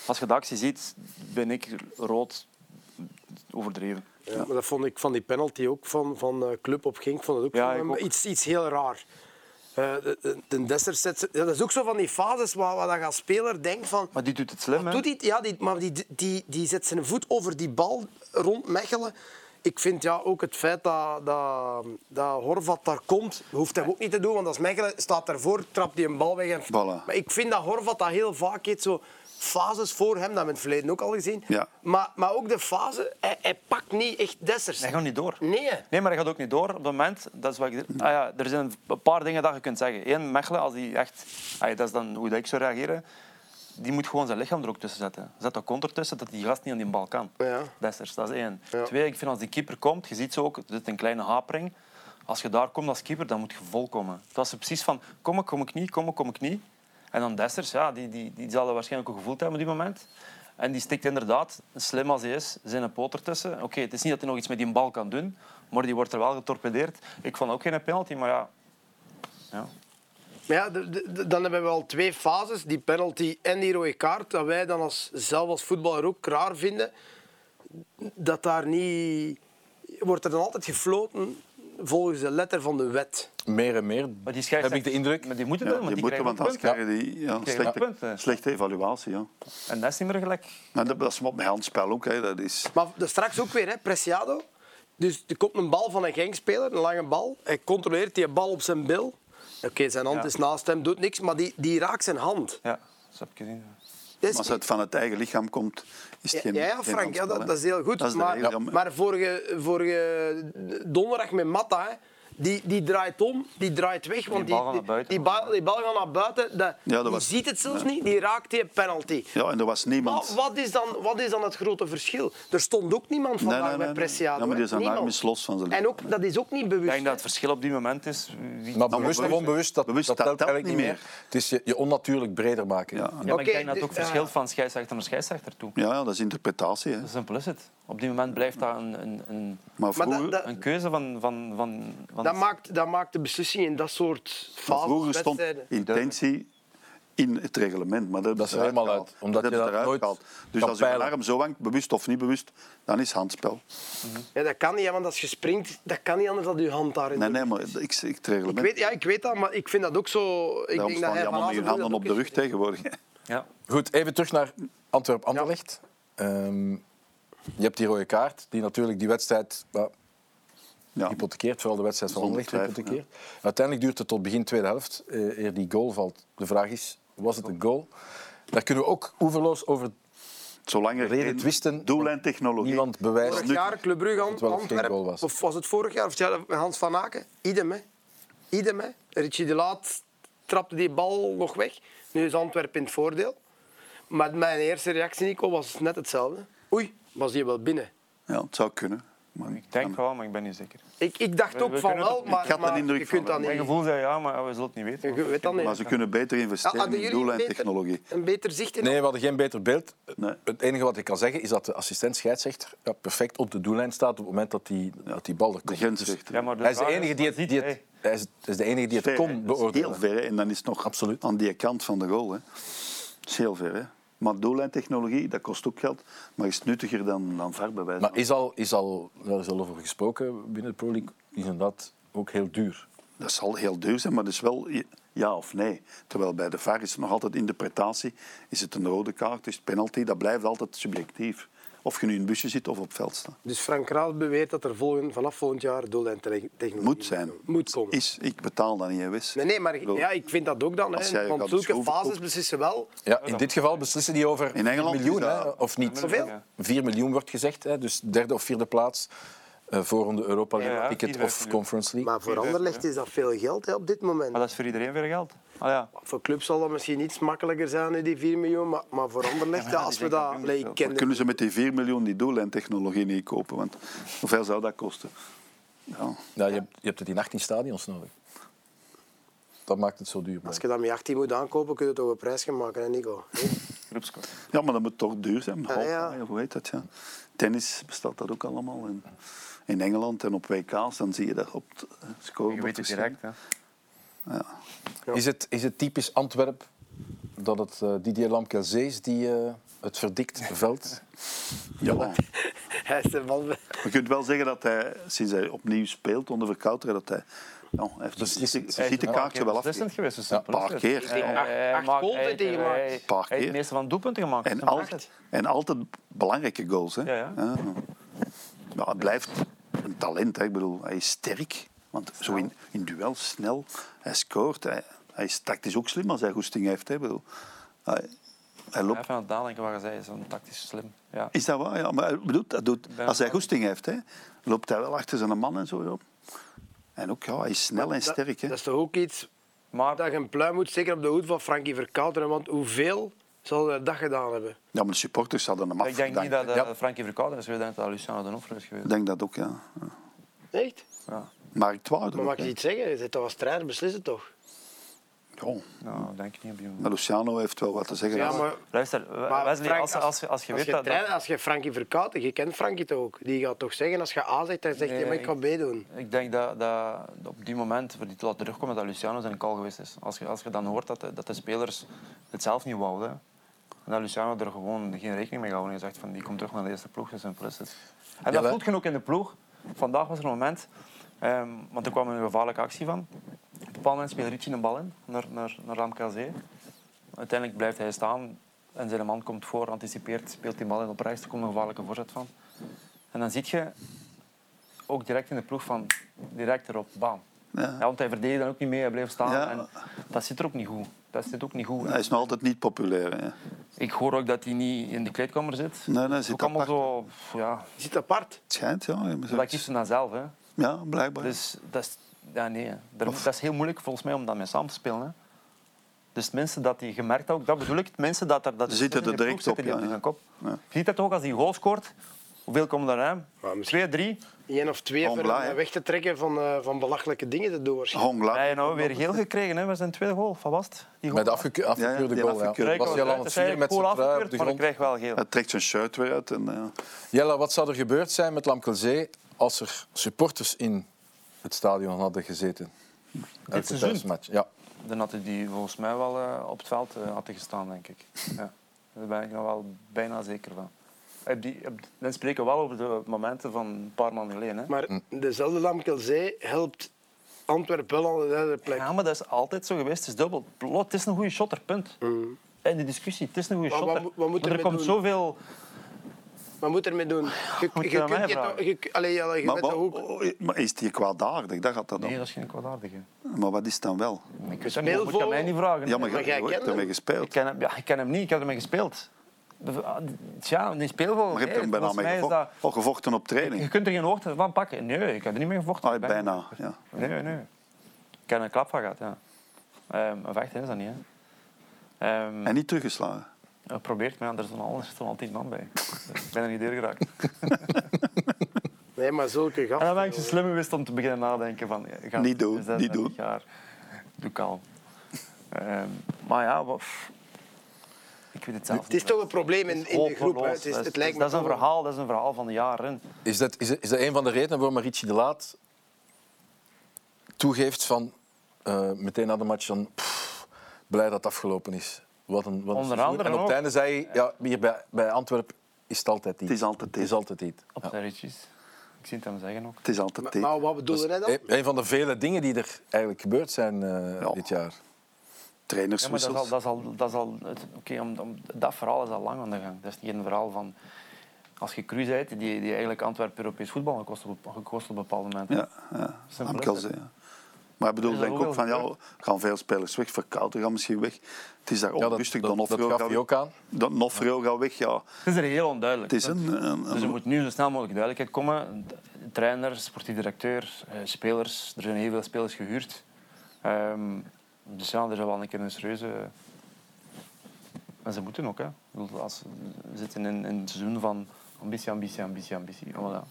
als je de actie ziet, ben ik rood overdreven.
Ja, maar dat vond ik van die penalty ook van, van eh, Club op Gink, vond het ook,
Ja,
zo-
ik ook.
Iets, iets heel raar. Eh, de, de, de Dessers zet ze- ja, dat is ook zo van die fases waar, waar je als speler denkt van...
Maar die doet het slim, hè?
Doet die, ja, die, maar die, die, die zet zijn voet over die bal rond Mechelen. Ik vind ja, ook het feit dat, dat, dat Horvat daar komt, hoeft hij ook niet te doen. Want als Mechelen staat daarvoor, trapt hij een bal weg. En...
Voilà.
Maar ik vind dat Horvat dat heel vaak heeft. Zo fases voor hem, dat hebben we in het verleden ook al gezien.
Ja.
Maar, maar ook de fase, hij, hij pakt niet echt Dessers.
Hij gaat niet door.
Nee.
Nee, maar hij gaat ook niet door. Op het moment, dat is wat ik... ah ja, er zijn een paar dingen dat je kunt zeggen. Eén, Mechelen, als die echt... ah ja, dat is dan hoe dat ik zou reageren. Die moet gewoon zijn lichaam er ook tussen zetten. Zet dat kont ertussen, dat die gast niet aan die bal kan.
Ja.
Dessers, dat is één. Twee, ik vind als die keeper komt, je ziet ze ook, er zit een kleine hapering. Als je daar komt als keeper, dan moet je volkomen. Het was precies van, kom ik, kom ik niet, kom ik, kom ik niet. En dan Dessers, ja, die, die, die zal dat waarschijnlijk ook gevoeld hebben op die moment. En die stikt inderdaad, slim als hij is, zijn poot ertussen. Oké, het is niet dat hij nog iets met die bal kan doen, maar die wordt er wel getorpedeerd. Ik vond ook geen penalty, maar ja... ja.
Maar ja, de- de- de- dan hebben we al twee fases, die penalty en die rode kaart, dat wij dan als, zelf als voetballer ook raar vinden. Dat daar niet... Wordt er dan altijd gefloten volgens de letter van de wet.
Meer en meer
Maar die scheids-
heb ik de indruk.
Maar die moeten
Ja,
wel, want
die
die,
moeten,
krijgen
want
ook
anders krijgen
punten.
die ja,
krijgen ook
slechte,
punten.
slechte evaluatie. Ja.
En dat is niet meer gelijk.
En dat, dat is wat met handspel ook. Hè. Dat is,
Maar dat straks ook weer, hè, Preciado. Dus er komt een bal van een gangspeler, een lange bal. Hij controleert die bal op zijn bil. Oké, zijn hand
Ja.
is naast hem, doet niks, maar die, die raakt zijn hand.
Ja, dat heb ik gezien.
Dus-
Dat is-
maar als het van het eigen lichaam komt, is het
Ja,
geen
ja, ja,
geen
Frank, ja,
handspel, hè.
dat, dat is heel goed.
Dat is de
maar,
regel, ja.
maar vorige, vorige donderdag met Matta, hè, die, die draait om, die draait weg. Want
Die bal
die,
gaat naar buiten.
die bal, die bal gaat naar buiten. Dat,
Ja, dat
die
was-
ziet het zelfs niet, die raakt die penalty.
Ja, en er was niemand...
Wat, wat, is dan, wat is dan het grote verschil? Er stond ook niemand vandaag
nee, nee,
bij
nee.
Preciado.
Ja, maar die zijn
hè.
arm
Niemand.
is los van zijn
En ook, dat is ook niet bewust.
Ik denk dat het
hè.
verschil op die moment is. Wie...
Maar
maar
bewust of
bewust-
onbewust, dat,
bewust,
dat
dat
telt
telt
eigenlijk niet
niet
meer. Het is je, je onnatuurlijk breder maken.
Ja,
Ja, maar
Oké,
ik denk dat het ook
dit- ja.
verschilt van scheidsrechter naar scheidsrechter toe.
ja, ja, dat is interpretatie. Hè.
Simpel is het. Op die moment blijft dat een, een, een,
Maar
Maar
vroeger,
dat- dat-
een keuze van... van, van, van
dat, maakt, dat maakt de beslissing in dat soort
maar
fases,
vroeger stond
wedstrijden.
intentie in het reglement. Maar dat,
Dat is er helemaal uit, omdat je dat nooit
Dus
kan
als je een
peilen.
arm zo hangt, bewust of niet bewust, dan is handspel.
Ja, dat kan niet, hè, want als je springt, dat kan niet anders dan je hand daarin
Nee,
doet.
nee, maar ik, ik, het
Ik
reglement...
weet, ja, ik weet dat, maar ik vind dat ook zo... Ik
daarom
denk dat
staan
hij
die allemaal met hun
Azenbroek
handen
dat
op de
ook
rug
is.
tegenwoordig. *laughs*
Ja.
Goed, even terug naar Antwerp-Anderlecht. Ehm, je hebt die rode kaart, die natuurlijk die wedstrijd nou,
Ja.
hypothekeert. Vooral de wedstrijd van
Zonder
Anderlecht
twijfel,
hypothekeert. Uiteindelijk duurt het tot begin tweede helft, eh, eer die goal valt. De vraag is, was het een goal? Daar kunnen we ook oeverloos over
Zolang er
reden
geen
twisten.
doel en technologie...
niemand bewijst.
Vorig jaar, Club Brugge,
het wel of geen
Antwerpen.
goal was.
Of was het vorig jaar? Of het jaar met Hans van Aken? Idem, hè. Idem, hè. Richie de Laat trapte die bal nog weg. Nu is Antwerpen in het voordeel. Maar mijn eerste reactie, Nico, was net hetzelfde. Oei, was die wel binnen?
Ja, het zou kunnen. Maar
Ik denk wel, maar ik ben niet zeker.
Ik, ik dacht
We-
ook
we
van
kunnen het-
wel,
ik
maar,
had de
maar
indruk
je kunt
van
dat
wel.
Mijn
niet.
gevoel zei ja, maar we zullen het niet weten.
Je weet dat
Maar
niet.
ze kunnen beter
Ja,
investeren
hadden
in
jullie
doel en
beter-
technologie.
een beter zicht in?
Nee, we hadden geen beter beeld.
Nee.
Het enige wat ik kan zeggen is dat de assistent scheidsrechter ja, perfect op de doellijn staat op het moment dat die, dat die bal er
De
komt.
grensrechter.
Ja, maar
Hij is de
vraag
enige die het,
wat
die
ziet
het,
hij?
hij is, hij is de enige die het
Ver, hè.
kon
Dat is Heel
beoordelen.
ver, hè. en dan is het nog
Absoluut.
aan die kant van de goal. Hè. Dat is heel ver. Hè. Maar doellijntechnologie, dat kost ook geld, maar is nuttiger dan, dan VAR bij wijze
Maar
van.
is al, is al, daar is al over gesproken binnen de Pro League, is inderdaad ook heel duur.
Dat zal heel duur zijn, maar dat is wel ja of nee. Terwijl bij de VAR is het nog altijd interpretatie. Is het een rode kaart, is het penalty? Dat blijft altijd subjectief. Of je nu in een busje zit of op het veld staat.
Dus Frank Kraal beweert dat er volgend, vanaf volgend jaar doel en technologie
Moet zijn.
Moet komen.
Is, ik betaal dat niet, hè, Wes.
Nee, nee, maar ja, ik vind dat ook dan.
Als
Hè,
jij
want
gaat
zulke
schroeven
fases
kopen.
beslissen wel.
Ja,
Oh,
in dit geval beslissen die over
In
4
Engeland is
miljoen,
dat-
hè, of niet.
Zoveel?
Ja.
4 miljoen wordt gezegd, hè, dus derde of vierde plaats eh voor de Europa League
Ja, ja,
ticket
vier, vijf
of
miljoen.
Conference League.
Maar voor Anderlecht is dat veel geld hè, op dit moment.
Maar dat is voor iedereen weer geld. Ah, ja.
Voor clubs zal dat misschien iets makkelijker zijn, hè, die 4 miljoen. Maar, maar voor Anderlecht, ja, als we dat... Nee, ik ken
Maar
het.
kunnen ze met die 4 miljoen die doellijntechnologie niet kopen? Want hoeveel zou dat kosten? Ja.
Ja, je, hebt, je hebt het in 18 stadions nodig. Dat maakt het zo duur.
Als je dat met 18 moet aankopen, kun je toch een prijs gaan maken, hè, Nico? *laughs*
Groepscore.
Ja, maar dat moet toch duur zijn.
Ah, ja.
Hockey, of hoe heet dat? Ja. Tennis bestaat dat ook allemaal. In, in Engeland en op WK's, dan zie je dat op het eh, scorebord.
Je weet het
verschijnen.
direct. Hè.
Is het, is het typisch Antwerp dat het eh, Didier Lamkelzee is die eh, het verdikt veld?
Ja, maar
Hij is de man...
je kunt wel zeggen dat hij, sinds hij opnieuw speelt onder Verkouteren, dat hij... Ja, hij heeft-
Dus het is-
hij
het is
ziet de
Een paar
kaartje
keer
wel af.
beslissend geweest. Dus
Ja,
simpel is
paar
het.
keer.
Hij-
Acht-
hij
acht
maakt-
goals
hij-
heeft hij gemaakt.
hij- hij
Paar
heeft
keer.
het meeste van doelpunten gemaakt.
En,
Dat is een
al-
pracht.
en altijd belangrijke goals. Hè?
Ja, ja.
Maar hij blijft een talent. Hè? Ik bedoel, hij is sterk. Want zo in, in duel, snel. Hij scoort. Hij, hij is tactisch ook slim als hij goesting heeft. Hè? Ik bedoel, hij, hij
Ja,
loopt.
even aan het nadenken wat je zei, zo'n tactisch slim. Ja.
Is dat waar? Ja, maar ik bedoel, dat doet,
ben-
als hij goesting heeft, hè, loopt hij wel achter zijn man en zo. Ja. En ook, ja, hij is snel en sterk. Hè?
Dat is toch ook iets
Maar
dat je een pluim moet steken op de hoed van Frankie Verkouteren. Want hoeveel zal hij dat gedaan hebben?
Ja, maar de supporters hadden hem
ik denk
afgedankt.
niet dat eh,
Ja.
Frankie Verkouden is, ik denk dat Luciano de Onoffer is
Ik
geweest.
denk dat ook, ja. Ja.
Echt?
Ja,
Maar het waarde
Maar
ook,
mag je
hè.
iets zeggen? Je zit toch als trainer, beslis het toch?
Ja.
nou, ik denk niet op die
Maar Luciano heeft wel wat te zeggen.
Ja,
Als-
maar...
Luister, we-
Maar
Wesley,
Frank,
als, als, als, je weet dat... dat-
traint, als je Frankie verkoudt, je kent Frankie toch ook. Die gaat toch zeggen, als je A zegt, dan zegt hij,
Nee,
maar ik ga B doen.
ik denk dat, dat op die moment, voor die te laten terugkomen, dat Luciano zijn call geweest is. Als je, als je dan hoort dat de, dat de spelers het zelf niet wouden, hè. en dat Luciano er gewoon geen rekening mee gehouden heeft. Zegt van, die komt terug naar de eerste ploeg, dus een plus is. En
Ja,
dat
hè?
voelt je ook in de ploeg. Vandaag was er een moment, en Ehm, want er kwam een gevaarlijke actie van. Op een bepaald moment speelt Ritchie een bal in naar, naar, naar Ramkazee. Uiteindelijk blijft hij staan en zijn man komt voor, anticipeert, speelt die bal in op rechts. Er komt een gevaarlijke voorzet van. En dan zie je ook direct in de ploeg van direct erop, bam. Ja, want hij verdedigde dan ook niet mee, hij bleef staan.
Ja.
En dat zit er ook niet goed. Dat zit ook niet goed.
Hij is nog altijd niet populair. Hè.
Ik hoor ook dat hij niet in de kleedkamer zit.
Nee, nee, hij zit
ook allemaal
apart.
zo, pff, ja,
Je zit apart.
Het schijnt, ja. Je moet
dat
het-
kiest ze dan zelf. Hè.
Ja, blijkbaar.
Dus dat is, ja, nee, hè. Daar- dat is heel moeilijk volgens mij om dat mee samen te spelen. Hè. Dus mensen dat die gemerkt ook, dat bedoel ik, mensen dat er dat
Ze zitten
in de
er direct
ploeg zitten,
op, ja,
die
ja.
zijn kop.
Ja.
Je ziet dat ook als hij goal scoort. Hoeveel komen er aan?
Ja, misschien-
Twee, drie.
Eén of twee
Hongla,
voor hem,
hè?
weg te trekken van, eh, van belachelijke dingen te doen. waarschijnlijk.
Hongla.
Hij heeft nou weer geel gekregen hè, met zijn tweede goal. Van was het? Die goal.
Met de afgeke- afgekeurde
die
goal. Ja.
afgekeurde.
Was Jelle aan het vieren met zijn trui
cool
op
afgekeurd,
de
maar ik
grond.
krijg wel geel.
Hij trekt zijn shirt weer uit. En, ja.
Jelle, wat zou er gebeurd zijn met Lamkelzee als er supporters in het stadion hadden gezeten? Elke
seizoen?
thuismatch, Ja.
Dan had hij die volgens mij wel eh, op het veld eh, had hij gestaan, denk ik. Ja. Daar ben ik nog wel bijna zeker van. Heb die, heb- dan spreken we wel over de momenten van een paar maanden geleden. Hè.
Maar
Mm.
dezelfde Lamkelzee helpt Antwerpen wel aan de derde plek.
Ja, maar dat is altijd zo geweest. Het is dubbel. Plot, het is een goede shotter, punt.
Mm.
En de discussie, het is een goede
Maar wat
shotter.
moet- wat moet
Maar er
ermee
komt
doen?
zoveel...
Wat moet ermee doen? Je,
Moet
je
je aan mij
kunt je
vragen?
toch... Je, allee, ja, je
Maar,
bent
wat-
toch ook...
oh, maar is die kwaadaardig? Dat gaat dat om.
Nee, dat is geen kwaadaardige.
Maar wat is het dan wel?
Ik weet dat niet, dat moet
Speelvol.
je aan mij niet vragen.
Ja, maar,
maar
je-
jij
je
kent
hebt ermee
hem.
Ik
gespeeld.
ken hem, ja, ik ken hem niet, ik had ermee gespeeld. Ah, Tja, die speelvol.
Maar je hebt
nee,
hem bijna
volgens
mee
mij is
gevochten, Oh, gevochten op
dat- Je
training.
kunt er geen woord van pakken. Nee, ik heb er niet mee gevochten.
Ah, bijna, ja.
Nee, nee. Ik heb er een klap van gehad, ja. Ehm een vechten is dat niet, hè. Ehm,
En niet teruggeslagen.
hij probeert mij, want er zijn al, er zijn al tien man bij. ik ben er niet door
*laughs*
geraakt.
Nee, maar zulke
En dan ben ik
gasten...
zo slim geweest om te beginnen nadenken van... ja, Ga,
Niet doen,
is dat
niet
nou
doen.
Jaar? Doe kalm. Ehm, maar ja, wat... Ik weet het zelf
Het is
niet.
toch een probleem in, in de groep. hè.
Hopeloos.
Het is,
Dat is-
het lijkt me
dat is een
toch-
verhaal, dat is een verhaal van de jaren.
Is, dat, is, dat- is dat een van de redenen waarom Richie de Laat toegeeft van eh, meteen na de match van "Pff, blij dat het afgelopen is? Wat een, wat een
Onder
seizoen.
andere
En op het
ook.
einde zei hij, ja, hier bij, bij Antwerpen is het altijd iets.
Het is altijd
Het is
dit.
altijd iets.
Op zijn ritjes. Ik zie het hem zeggen ook.
Het is altijd
Maar,
dit.
maar wat bedoelde
Dus
hij
eh,
dan?
Een, een van de vele dingen die er eigenlijk gebeurd zijn eh,
Ja.
dit jaar.
Ja, maar dat is
Trainerswissels.
al, dat is al, dat is al het- oké, om, om, dat verhaal is al lang aan de gang. Dat is niet een verhaal van als je cru bent, die, die eigenlijk Antwerpen Europees voetbal gekost op, gekost op een bepaald moment.
Ja, ja. Laat
Simpel
ik
is
al
het.
zeggen. Maar ik bedoel,
Is er
denk
ook
ook van, ja,
wel
gaan veel spelers weg, Verkouter gaat misschien weg. Het is daar
dat-
onrustig.
dat- dat
Donofrio
gaf
gaat
hij
weg.
ook aan.
Donofrio gaat weg, ja.
Het is er heel onduidelijk.
Het is een... een-
Dus er
een-
moet nu zo snel mogelijk duidelijkheid komen. De Trainer, sportief directeur, eh, spelers. Er zijn heel veel spelers gehuurd. Ehm, dus ja, er is wel een keer een serieuze... En ze moeten ook, hè. Ik bedoel, als, we zitten in, in het seizoen van ambitie, ambitie, ambitie, ambitie. Oh, Voilà.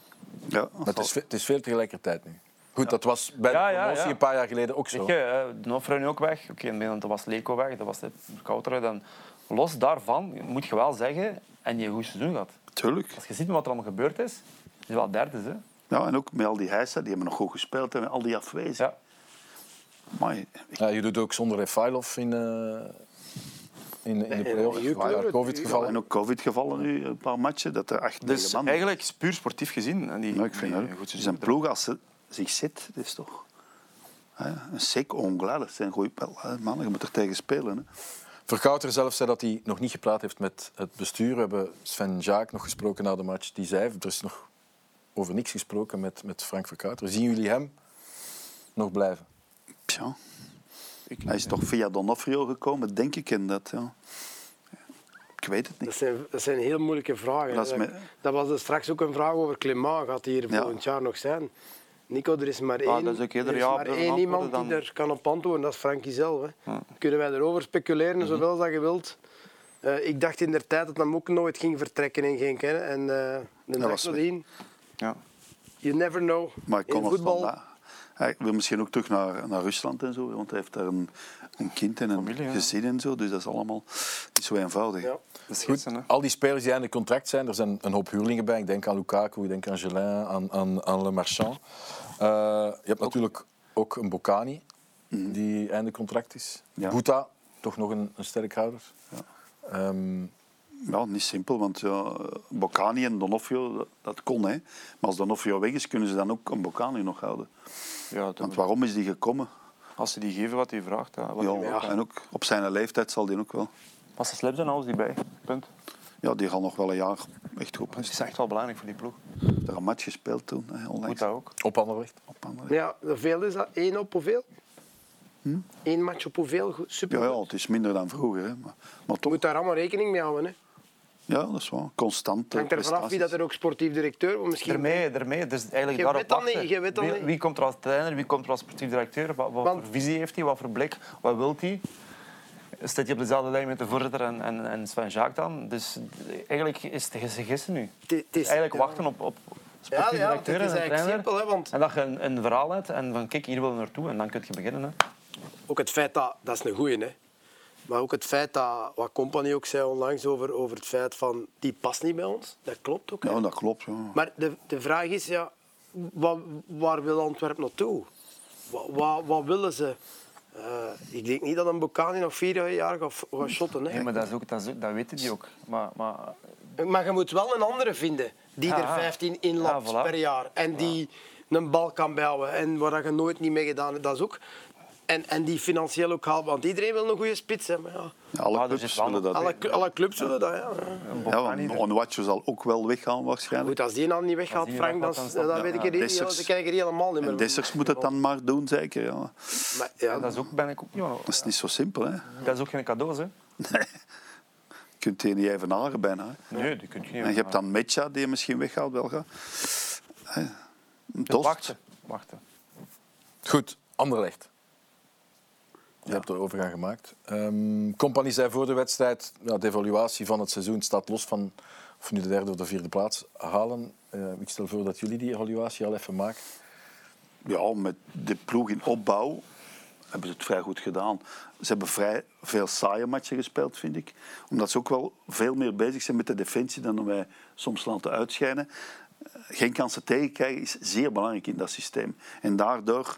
ja,
Maar het is, ve- het is veel tegelijkertijd nu. Goed, dat was bij de
Ja, ja,
promotie
ja.
een paar jaar geleden ook zo.
Weet je, eh, de Nofre nu ook weg. Oké, in het begin dat was Leko weg, dat was de Kouteren. Dan los daarvan moet je wel zeggen en je een goed seizoen gehad.
Tuurlijk.
Als je ziet wat er allemaal gebeurd is, is wel derde, hè.
Ja, en ook met al die heisen, die hebben nog goed gespeeld. En al die afwezigen.
Ja.
Maar ik-
Ja, je doet ook zonder Refailov in, eh, in, in de play-off.
je
Waar
kleur-
COVID
ja,
gevallen.
en ook COVID-gevallen nu, een paar matchen. Dat er acht,
Dus
negen man...
eigenlijk, puur sportief gezien... En die,
Nou, ik vind het
die, een goed
goed.
seizoen
Zijn ploeg, als ze zich zit, dat is toch... Hè, een sec ongeluid. Dat zijn goede mannen. Je moet er tegen spelen. Hè.
Vergouter zelf zei dat hij nog niet gepraat heeft met het bestuur. We hebben Sven Jaak nog gesproken na de match. Die zei, er is nog over niks gesproken met, met Frank Verkouter. Zien jullie hem nog blijven?
Tja. Hij is toch via Donofrio gekomen, denk ik in dat. Ja. Ik weet het
Dat
niet.
zijn, dat zijn heel moeilijke vragen.
Dat is
Dat,
me-
dat was dus straks ook een vraag over klimaat. Gaat die hier
Ja.
volgend jaar nog zijn? Nico, er is maar één,
Ah, dat is ook eerder
er is
ja,
maar één
dat antwoorden
iemand
dan-
die er kan op antwoorden. Dat is Frankie zelf. Hè. Kunnen wij erover speculeren,
Mhm.
zoveel als dat je wilt. Eh, ik dacht in der tijd dat hem ook nooit ging vertrekken in Genk. Hè. En eh de dag
was weg.
nadien,
Ja.
you never know.
Maar ik
in
kon
voetbal,
Hij wil misschien ook terug naar, naar Rusland en zo, want hij heeft daar een, een kind en een
Familie, ja.
gezin en zo. Dus dat is allemaal niet zo eenvoudig.
Ja.
Dat is
Goed,
gisteren, hè.
al die spelers die aan de contract zijn, er zijn een hoop huurlingen bij. Ik denk aan Lukaku, ik denk aan Gelin, aan, aan, aan Le Marchand. Eh, je hebt natuurlijk ook een Bocani,
Mhm.
die einde contract is.
Ja.
Bouta, toch nog een, een sterk houder. Ehm,
ja, niet simpel, want ja, Boccani en Donofrio, dat, dat kon. Hè. Maar als Donofrio weg is, kunnen ze dan ook een Boccani nog houden.
Ja, dat-
Want waarom is die gekomen?
als ze die geven wat hij vraagt. Ja, wat
Ja,
die wil.
En ook op zijn leeftijd zal die ook wel.
Als ze slim zijn, houden ze die bij. Punt.
Ja, die gaat nog wel een jaar echt goed. Hij
Dat is echt wel belangrijk voor die ploeg.
heeft daar een match gespeeld toen, hè,
Moet
onlangs.
dat ook.
Op Anderlecht.
Op andere-
Ja, hoeveel is dat? Eén op hoeveel? Eén match op hoeveel? Goed, Super.
Hm? Ja, ja, het is minder dan vroeger. Hè. Maar, maar
Je
toch,
moet daar allemaal rekening mee houden. Hè.
ja, dat is wel constant.
Het hangt er vanaf wie dat er ook sportief directeur wordt. Misschien...
Daarmee, daarmee. Dus eigenlijk
Je
daarop
weet dat
wachten.
niet, je weet dat
wie,
niet.
wie komt er als trainer, wie komt er als sportief directeur? Wat, wat
Want-
voor visie heeft hij, wat voor blik, wat wil hij? Staat hij op dezelfde lijn met de voorzitter en, en, en Sven Jaak dan? Dus eigenlijk is het is gissen nu.
Het is- het is-
eigenlijk
ja.
wachten op, op
Ja,
sportief
ja, want
directeur
het is
en een
eigenlijk
trainer.
simpel. Hè, want
En dat je een, een verhaal hebt en van kijk, hier wil je naartoe en dan kun je beginnen. Hè.
ook het feit dat... Dat is een goeie, hè. Maar ook het feit dat... Wat Company ook zei onlangs over, over het feit van... Die past niet bij ons. Dat klopt ook. hè.
Ja, dat klopt. Ja.
Maar de, de vraag is, ja, waar, waar wil Antwerpen naartoe? Wat, wat, wat willen ze? Eh, ik denk niet dat een Bocani nog vier jaar gaat, gaat shotten. Hè.
Nee, maar dat, is ook, dat, is ook, dat weten die ook. Maar, maar
Maar je moet wel een andere vinden die
Ja,
er
ja.
15 inlapt
Ja, voilà.
per jaar. En die een bal kan bouwen en waar dat je nooit niet mee gedaan hebt. Dat is ook... En, en die financieel ook haalt, want iedereen wil een goede spits hebben. Ja.
Ja, alle
Ah, er
clubs
zit wel
zullen dat
Alle,
hè.
cl- alle clubs willen dat. Ja.
eh,
Ja, want Onwacho zal ook wel weggaan waarschijnlijk.
Goed, als die dan niet weggaat,
Als die
Frank, dan,
weggaat, dan
dan, weet ik het niet.
Dessers.
Ze kijken hier helemaal niet meer.
En Dessers moet het dan maar doen, zeker. Ja. Dat
Maar, ja,
dat is ook, ben ik ook niet
is niet zo simpel, hè.
Dat is ook geen cadeaus, hè?
Je kunt hier niet even haren bijna. hè.
Nee, die kun je niet.
En je hebt dan Mecha, die misschien weggaat, wel gaat. Hè. Dost.
Dus Wachten. Wachten.
Goed, Anderlecht. Je hebt er overgaan gemaakt. Ehm Compagnie zei voor de wedstrijd, nou, de evaluatie van het seizoen staat los van of nu de derde of de vierde plaats halen. Eh, ik stel voor dat jullie die evaluatie al even maken.
Ja, met de ploeg in opbouw hebben ze het vrij goed gedaan. Ze hebben vrij veel saaie matchen gespeeld, vind ik. Omdat ze ook wel veel meer bezig zijn met de defensie dan wij soms laten uitschijnen. Geen kansen tegenkrijgen is zeer belangrijk in dat systeem. En daardoor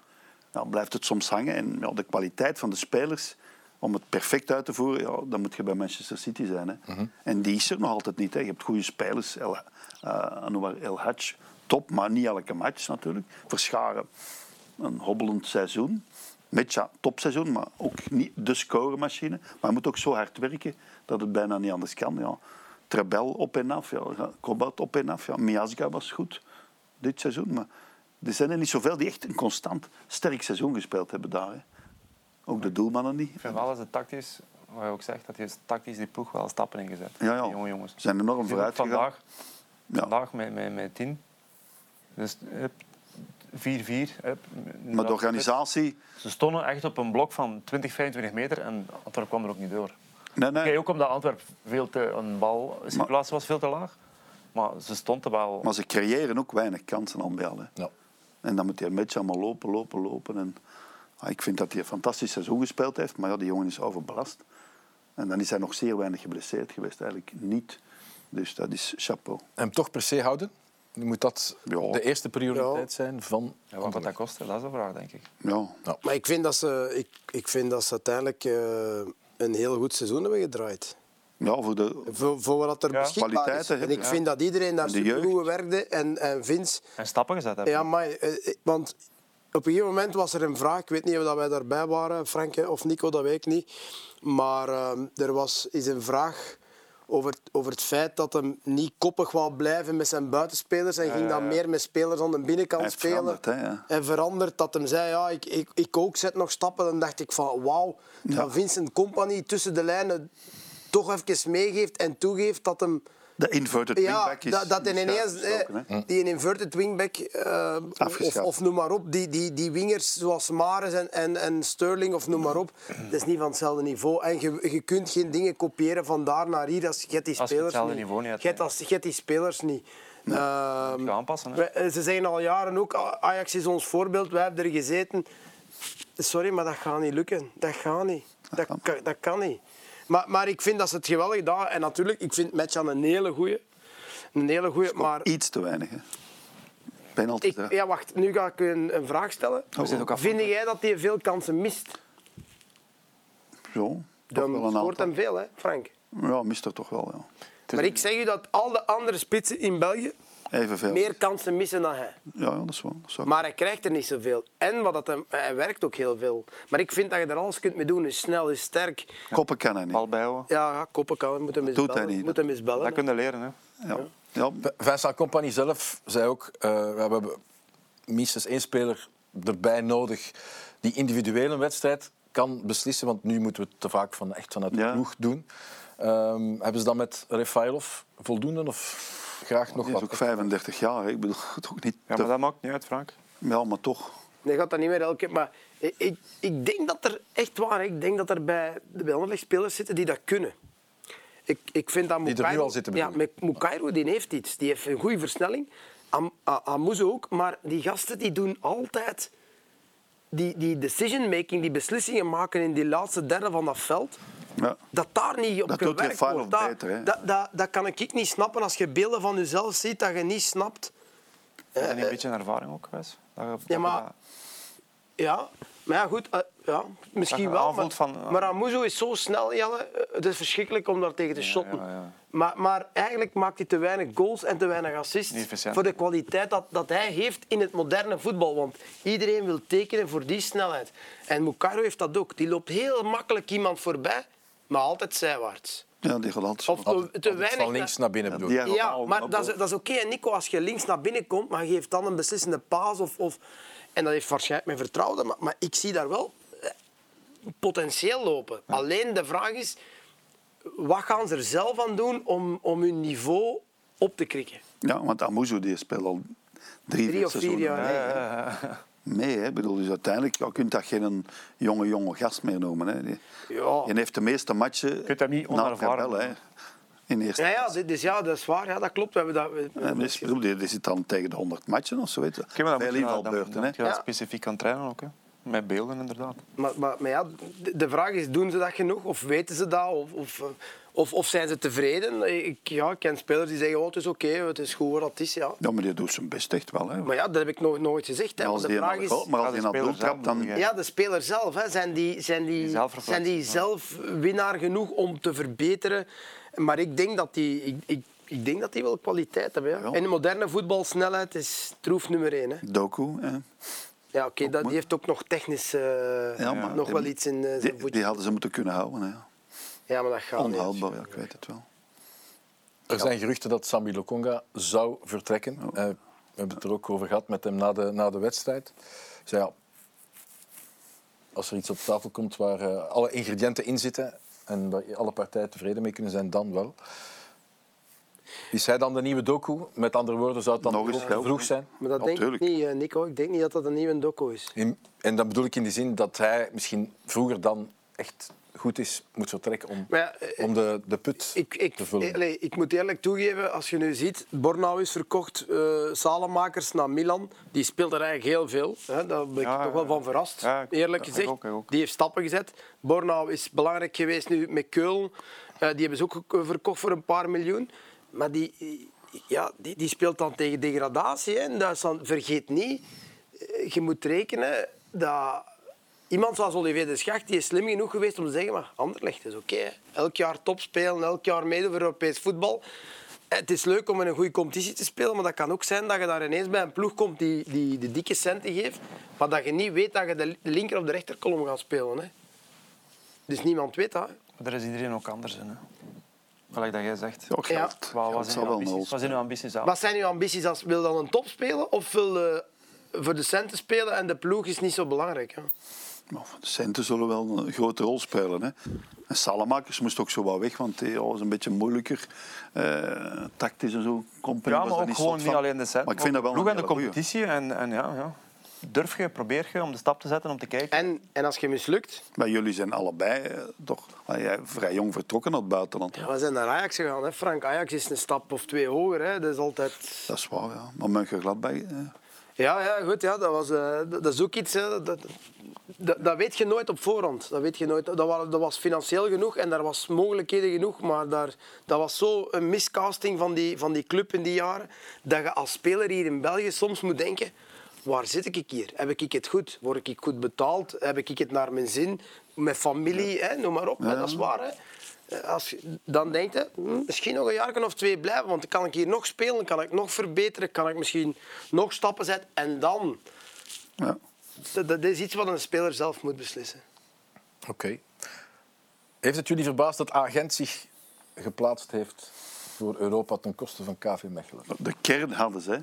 ja, blijft het soms hangen. En ja, de kwaliteit van de spelers om het perfect uit te voeren, ja, dan moet je bij Manchester City zijn. Hè. En die is er nog altijd niet. Hè. Je hebt goede spelers. El, eh, Anouar El Hadj, top, maar niet elke match natuurlijk. Verscharen, een hobbelend seizoen. Metja, topseizoen, maar ook niet de scoremachine. Maar hij moet ook zo hard werken dat het bijna niet anders kan. Ja. Trebel op en af, ja. Kobat op en af. Ja. Miasga was goed dit seizoen. Maar er zijn er niet zoveel die echt een constant sterk seizoen gespeeld hebben daar. Hè. Ook de doelmannen niet.
Ik vind wel dat ze tactisch, wat je ook zegt, dat heeft tactisch die ploeg wel stappen ingezet.
Ja, ja.
Die jonge jongens.
Ze zijn enorm
Die
vooruit
doen het
gegaan.
Vandaag,
Ja.
vandaag met, met, met tien. Dus hup, 4-4. hup,
Maar
inderdaad,
de organisatie...
Ze stonden echt op een blok van 20, 25 meter en Antwerp kwam er ook niet door.
Nee,
Oké,
nee.
ook omdat Antwerp veel te, een bal, de situatie was veel te laag. Maar ze stonden wel.
Maar ze creëren ook weinig kansen aan bij al, hè.
Ja.
En dan moet die match allemaal lopen, lopen, lopen. En, ah, ik vind dat hij een fantastisch seizoen gespeeld heeft, maar ja, die jongen is overbelast. En dan is hij nog zeer weinig geblesseerd geweest, eigenlijk niet. Dus dat is chapeau.
Hem toch per se houden? Moet dat
Ja.
de eerste prioriteit
Ja.
zijn van
Ja, wat gaat dat kosten? Dat is de vraag, denk ik.
Ja,
Maar ik vind dat ze, ik, ik vind dat ze uiteindelijk eh, een heel goed seizoen hebben gedraaid.
ja voor de...
Voor, voor wat er
Ja.
beschikbaar
Kwaliteiten,
is.
hè.
En ik
Ja.
vind dat iedereen daar
De jeugd.
supergoed werkte. En, en Vince...
En stappen gezet hebben.
Ja, maar, eh, eh, want op een gegeven moment was er een vraag, ik weet niet of dat wij daarbij waren, Frank hè, of Nico, dat weet ik niet. Maar ehm, er was is een vraag over, het- over het feit dat hem niet koppig wou blijven met zijn buitenspelers en ging dan meer met spelers aan de
Hij
binnenkant
heeft
spelen.
veranderd, hè, ja.
En veranderd dat hem zei, ja, ik, ik, ik ook zet nog stappen. Dan dacht ik van, wauw, dat Vincent Company tussen de lijnen toch even meegeeft en toegeeft dat hem...
De inverted
Ja,
wingback is...
dat, dat
is
ineens
uitgesproken,
eh,
hè.
die een inverted wingback, eh, of,
Afgeschaft.
of noem maar op, die, die, die wingers zoals Maris en, en, en Sterling of noem maar op, dat is niet van hetzelfde niveau. En je, je kunt geen dingen kopiëren van daar naar hier als je hebt die
Als je
spelers
hetzelfde
niet.
niveau niet hebt,
Je hebt als- je hebt die spelers niet. Ehm,
Moet je aanpassen, hè.
wij- eh, ze zeggen al jaren ook, A- Ajax is ons voorbeeld, wij hebben er gezeten. Sorry, maar dat gaat niet lukken. Dat gaat niet. Dat, kan, dat kan niet. Maar, maar ik vind dat ze het geweldig gedaan. En natuurlijk, ik vind Metjan een hele goeie. Een hele goeie, maar...
Iets te weinig, hè. Penalty.
Ik, ja, wacht. Nu ga ik u een, een vraag stellen.
zijn ook af-
Vind jij dat hij veel kansen mist?
Zo, toch wel
Dan
een
scoort
aantal.
hem veel, hè, Frank?
Ja, mist er toch wel, ja.
is
Maar
een-
ik zeg u dat al de andere spitsen in België
Evenveel.
meer kansen missen dan hij.
Ja, ja, dat is wel. Dat is wel.
Maar hij krijgt er niet zoveel. En wat dat hem, hij werkt ook heel veel. Maar ik vind dat je er alles kunt mee doen. Is snel, is sterk.
Koppen kan hij niet.
Bal bijhouden.
Ja, ja koppen kan, moet hem eens
doet
bellen.
hij niet.
Moet hem eens bellen.
Dat kunnen leren. Hè.
Ja. Ja.
Vincent Compagnie zelf zei ook, eh, we hebben minstens één speler erbij nodig die individueel een wedstrijd kan beslissen, want nu moeten we het te vaak van, echt vanuit de
Ja.
ploeg doen. Ehm, hebben ze dan met Refailov voldoende of graag nog
Die is ook
wat?
35 jaar. hè. Ik bedoel, *laughs* het ook niet...
Ja,
te-
maar dat maakt niet uit, Frank.
ja, maar toch.
Nee, gaat dat niet meer elke keer. Maar ik, ik, ik denk dat er, echt waar, ik denk dat er bij, bij Anderlecht spelers zitten die dat kunnen. Ik, ik vind dat
er
Mukairo-
nu al zitten,
Ja,
bedoel je?
Muk- Mukairo die heeft iets. Die heeft een goede versnelling. Am- A- Amuzo ook. Maar die gasten die doen altijd die, die decision making, die beslissingen maken in die laatste derde van dat veld.
Ja.
Dat daar niet op
Dat doet
gewerkt
Rafael
wordt.
beter, hè?
dat, dat, dat kan ik niet snappen als je beelden van jezelf ziet dat je niet snapt.
En een beetje ervaring ook, Wes. Dat je- dat je
maar-
dat-
Ja, maar ja, goed, eh, ja, misschien
Dat je
wel. Maar,
aanvoelt van- eh,
maar Amuzo is zo snel, Jelle. eh, Het is verschrikkelijk om daar tegen te shotten.
ja, ja.
Maar, maar eigenlijk maakt hij te weinig goals en te weinig assists
Niet efficiënt.
voor de kwaliteit dat, dat hij heeft in het moderne voetbal. Want iedereen wil tekenen voor die snelheid. En Mukaro heeft dat ook. Die loopt heel makkelijk iemand voorbij, maar altijd zijwaarts.
Ja, die gaat altijd
Of
zo.
te, te weinig...
Van links naar binnen bedoel ik.
Die
Ja,
gaat
maar
altijd-
dat is, dat is oké, hè, Nico, als je links naar binnen komt, maar je geeft dan een beslissende paas. Of, of, en dat heeft waarschijnlijk mijn vertrouwen, maar, maar ik zie daar wel eh, potentieel lopen. Alleen de vraag is, wat gaan ze er zelf aan doen om, om hun niveau op te krikken?
Ja, want Amuzu die speelt al drie,
Drie
vier
of vier
seizoenen
jaar. nee.
Eh,
mee. Hè. Ik bedoel, dus uiteindelijk je kunt dat geen jonge, jonge gast meer noemen. Hè. Die,
Ja.
Je heeft de meeste matchen
kunt dat niet
na
onervaren
Capelle, hè. In eerste.
Ja, ja, dit- dus ja, dat is waar. Ja, dat klopt. We hebben dat, we-
Ja, maar die, is- ik bedoel, die, die zit dan tegen de 100 matchen of zo. Weet je.
Oké, maar dan
Veel
moet je dat- dan-
invalbeurten,
dan
hè.
moet je dat
Ja.
specifiek kan trainen ook. Hè. Met beelden, inderdaad.
Maar, maar, maar ja, de- de vraag is, doen ze dat genoeg? Of weten ze dat? Of, of, eh, of, of zijn ze tevreden? Ik, ja, ik ken spelers die zeggen, oh, het is oké, het is goed wat het is. Ja.
Ja, maar die doet zijn best echt wel. Hè.
Maar ja, dat heb ik nog nooit gezegd. Hè.
als
want
die
De vraag
naar
is,
de goal- maar als
Ja,
die
de
naar het doel
speler
trapt, dan...
zelf,
ja, de speler zelf, hè. Zijn, die, zijn, die,
zelfreflectie,
zijn die
ja.
zelf winnaar genoeg om te verbeteren? Maar ik denk dat die, ik, ik, ik denk dat die wel kwaliteit hebben. Ja.
Ja.
En de moderne voetbal, snelheid is troef nummer één. Hè.
Doku, hè.
Ja, oké, dat die heeft ook nog technisch eh,
Ja, maar
nog
die-
wel iets in eh, zijn
Die,
voetje.
die hadden ze moeten kunnen houden. Hè.
Ja, maar dat gaat niet.
Onhoudbaar, ja, ik weet het wel.
Er zijn geruchten dat Sambi Lokonga zou
Oh.
vertrekken. Eh, we hebben het er ook over gehad met hem na de, na de wedstrijd. Ik zei, ja, als er iets op tafel komt waar eh, alle ingrediënten in zitten en waar alle partijen tevreden mee kunnen zijn, dan wel. Is hij dan de nieuwe doku? Met andere woorden, zou het dan
Nog eens
ook te
geld.
vroeg zijn?
Maar dat
Ja,
denk
tuurlijk.
ik niet, eh, Nico. Ik denk niet dat dat een nieuwe doco is.
In- en dan bedoel ik in die zin dat hij misschien vroeger dan echt goed is, moet vertrekken om,
Maar ja, eh,
om de, de put
Ik, ik,
te vullen.
allee, ik moet eerlijk toegeven, als je nu ziet, Bornau is verkocht, eh Salemakers naar Milan. Die speelt er eigenlijk heel veel. Hè? Daar ben ik
Ja,
toch wel
ja.
van verrast,
Ja, ik-
eerlijk
ja, ik
gezegd.
ook, ik ook.
Die heeft stappen gezet. Bornau is belangrijk geweest nu met Keulen. Eh, die hebben ze ook eh, verkocht voor een paar miljoen. Maar die, eh, ja, die, die speelt dan tegen degradatie. Hè? In Duitsland, vergeet niet, eh, je moet rekenen dat... Iemand zoals Olivier de Schacht die is slim genoeg geweest om te zeggen, maar Anderlecht is oké. hè. elk jaar top spelen, elk jaar meedoen voor Europees voetbal. Eh, Het is leuk om in een goede competitie te spelen, maar dat kan ook zijn dat je daar ineens bij een ploeg komt die, die de dikke centen geeft, maar dat je niet weet dat je de linker of de rechterkolom gaat spelen. Hè. Dus niemand weet dat. hè.
Maar daar is iedereen ook anders in. Hè. Gelijk dat jij zegt.
Ja,
Ja.
geld.
Wat
Geld
was
zal
zijn uw
wel een
ambities?
rol
Wat zijn uw ambities zelf?
Wat zijn uw ambities? Als, wil dan een top spelen of wil eh, voor de centen spelen en de ploeg is niet zo belangrijk? Hè?
Nou, de centen zullen wel een grote rol spelen. Hè. En Salamakers moest ook zo wat weg, want hij was een beetje moeilijker. eh, tactisch en zo. Company
Ja,
was
maar
er
ook
niet
gewoon
zot
niet
van.
alleen de set.
Maar ik vind dat wel
Ploeg
een
en de
hele goeie.
competitie. En, en ja, ja. Durf je, probeer je om de stap te zetten, om te kijken.
En, en als je mislukt,
Maar jullie zijn allebei eh, toch ah, jij, vrij jong vertrokken naar het buitenland.
Ja, we zijn naar Ajax gegaan, hè, Frank. Ajax is een stap of twee hoger. Hè. Dat is altijd...
Dat is waar, ja. Maar Mönchengladbach... eh,
Ja, ja, goed. Ja, dat, was, eh, dat, dat is ook iets... Hè, dat, dat, dat weet je nooit op voorhand. Dat, weet je nooit. Dat, wa- dat was financieel genoeg en daar was mogelijkheden genoeg. Maar daar, dat was zo een miscasting van die, van die club in die jaren. Dat je als speler hier in België soms moet denken... Waar zit ik hier? Heb ik het goed? Word ik goed betaald? Heb ik het naar mijn zin? Met familie, hè, noem maar op. hè, Dat is waar. Hè. eh, als, je- dan denkt hij, hm, misschien nog een jaar of twee blijven, want dan kan ik hier nog spelen, kan ik nog verbeteren, kan ik misschien nog stappen zetten. En dan,
Ja.
dat, dat is iets wat een speler zelf moet beslissen.
Oké. Heeft het jullie verbaasd dat Agent zich geplaatst heeft voor Europa ten koste van KV Mechelen?
De kern hadden ze. hè.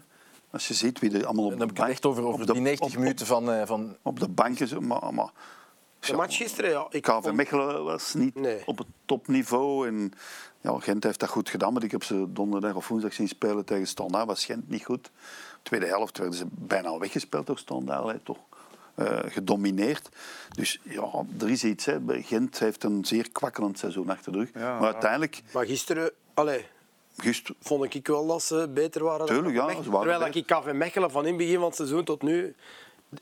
Als je ziet wie er allemaal op
En dan
de
heb ik het echt over, over
op
die 90
op- op-
minuten van, eh, van...
Op, de banken. zo, Maar, maar,
De match gisteren, ja. Ik
KV
vond-
Mechelen was niet
Nee.
op het topniveau. En, ja, Gent heeft dat goed gedaan, maar ik heb ze donderdag of woensdag zien spelen tegen Standaard. Was Gent niet goed. Tweede helft werden ze bijna weggespeeld door Standaard, hè, toch eh, gedomineerd. Dus ja, er is iets. Hè. Bij Gent heeft een zeer kwakkelend seizoen achter de rug. maar uiteindelijk,
Maar gisteren, allee,
juist,
vond ik wel dat ze beter waren. dan
Tuurlijk, ja,
KV
ze
Mechelen.
waren
Terwijl ik KV Mechelen van in het begin van het seizoen tot nu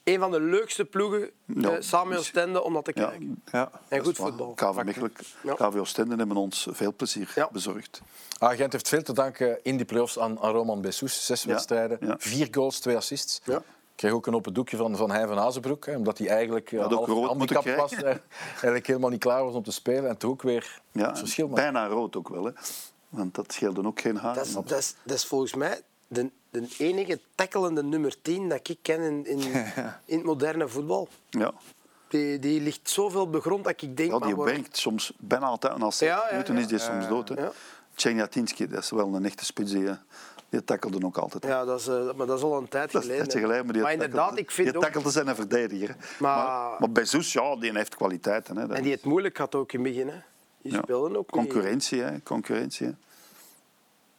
een van de leukste ploegen,
Ja,
eh, samen met Stende, om dat te
Ja,
kijken.
Ja.
En goed
dat is waar.
voetbal.
KV Mechelen,
Ja.
KV Oostende hebben ons veel plezier
Ja.
bezorgd.
Agent heeft veel te danken in die play-offs aan, aan Roman Bessous. Zes wedstrijden,
ja.
vier goals, twee assists.
Ja.
Kreeg ook een open doekje van, van Hein van Azenbroek, hè, omdat hij eigenlijk eh,
Had ook
half
rood moeten
gehandicapt was.
krijgen.
eh, Eigenlijk helemaal niet klaar was om te spelen. En toen ook weer
Ja,
het verschil maakte.
bijna rood ook wel. Hè. Want dat scheelde ook geen haar.
Dat is, dat is, dat is volgens mij de, de enige tackelende nummer 10 dat ik ken in,
*laughs*
in, in het moderne voetbal.
Ja.
Die, die ligt zoveel op de grond dat ik denk...
Ja, die
maar waar-
werkt soms bijna altijd. En als ze
Ja, ja,
minuten
ja.
is, die soms dood. Hè.
Ja.
Tjenjatinski, dat is wel een echte spits. Die, eh, die tackelde ook altijd.
Ja, dat is, eh, maar dat is al een tijd
Dat is
geleden.
net geleden, maar die
maar
tackelde-
inderdaad, ik vind
die
ook...
tackelde zijn verdediger. hè.
Maar-
maar, maar bij Zoes, ja, die heeft kwaliteiten. Hè. Dat
En die
is-
het moeilijk had ook in het begin. Hè. Die
ja.
speelden ook niet.
Concurrentie, hè. Concurrentie, hè.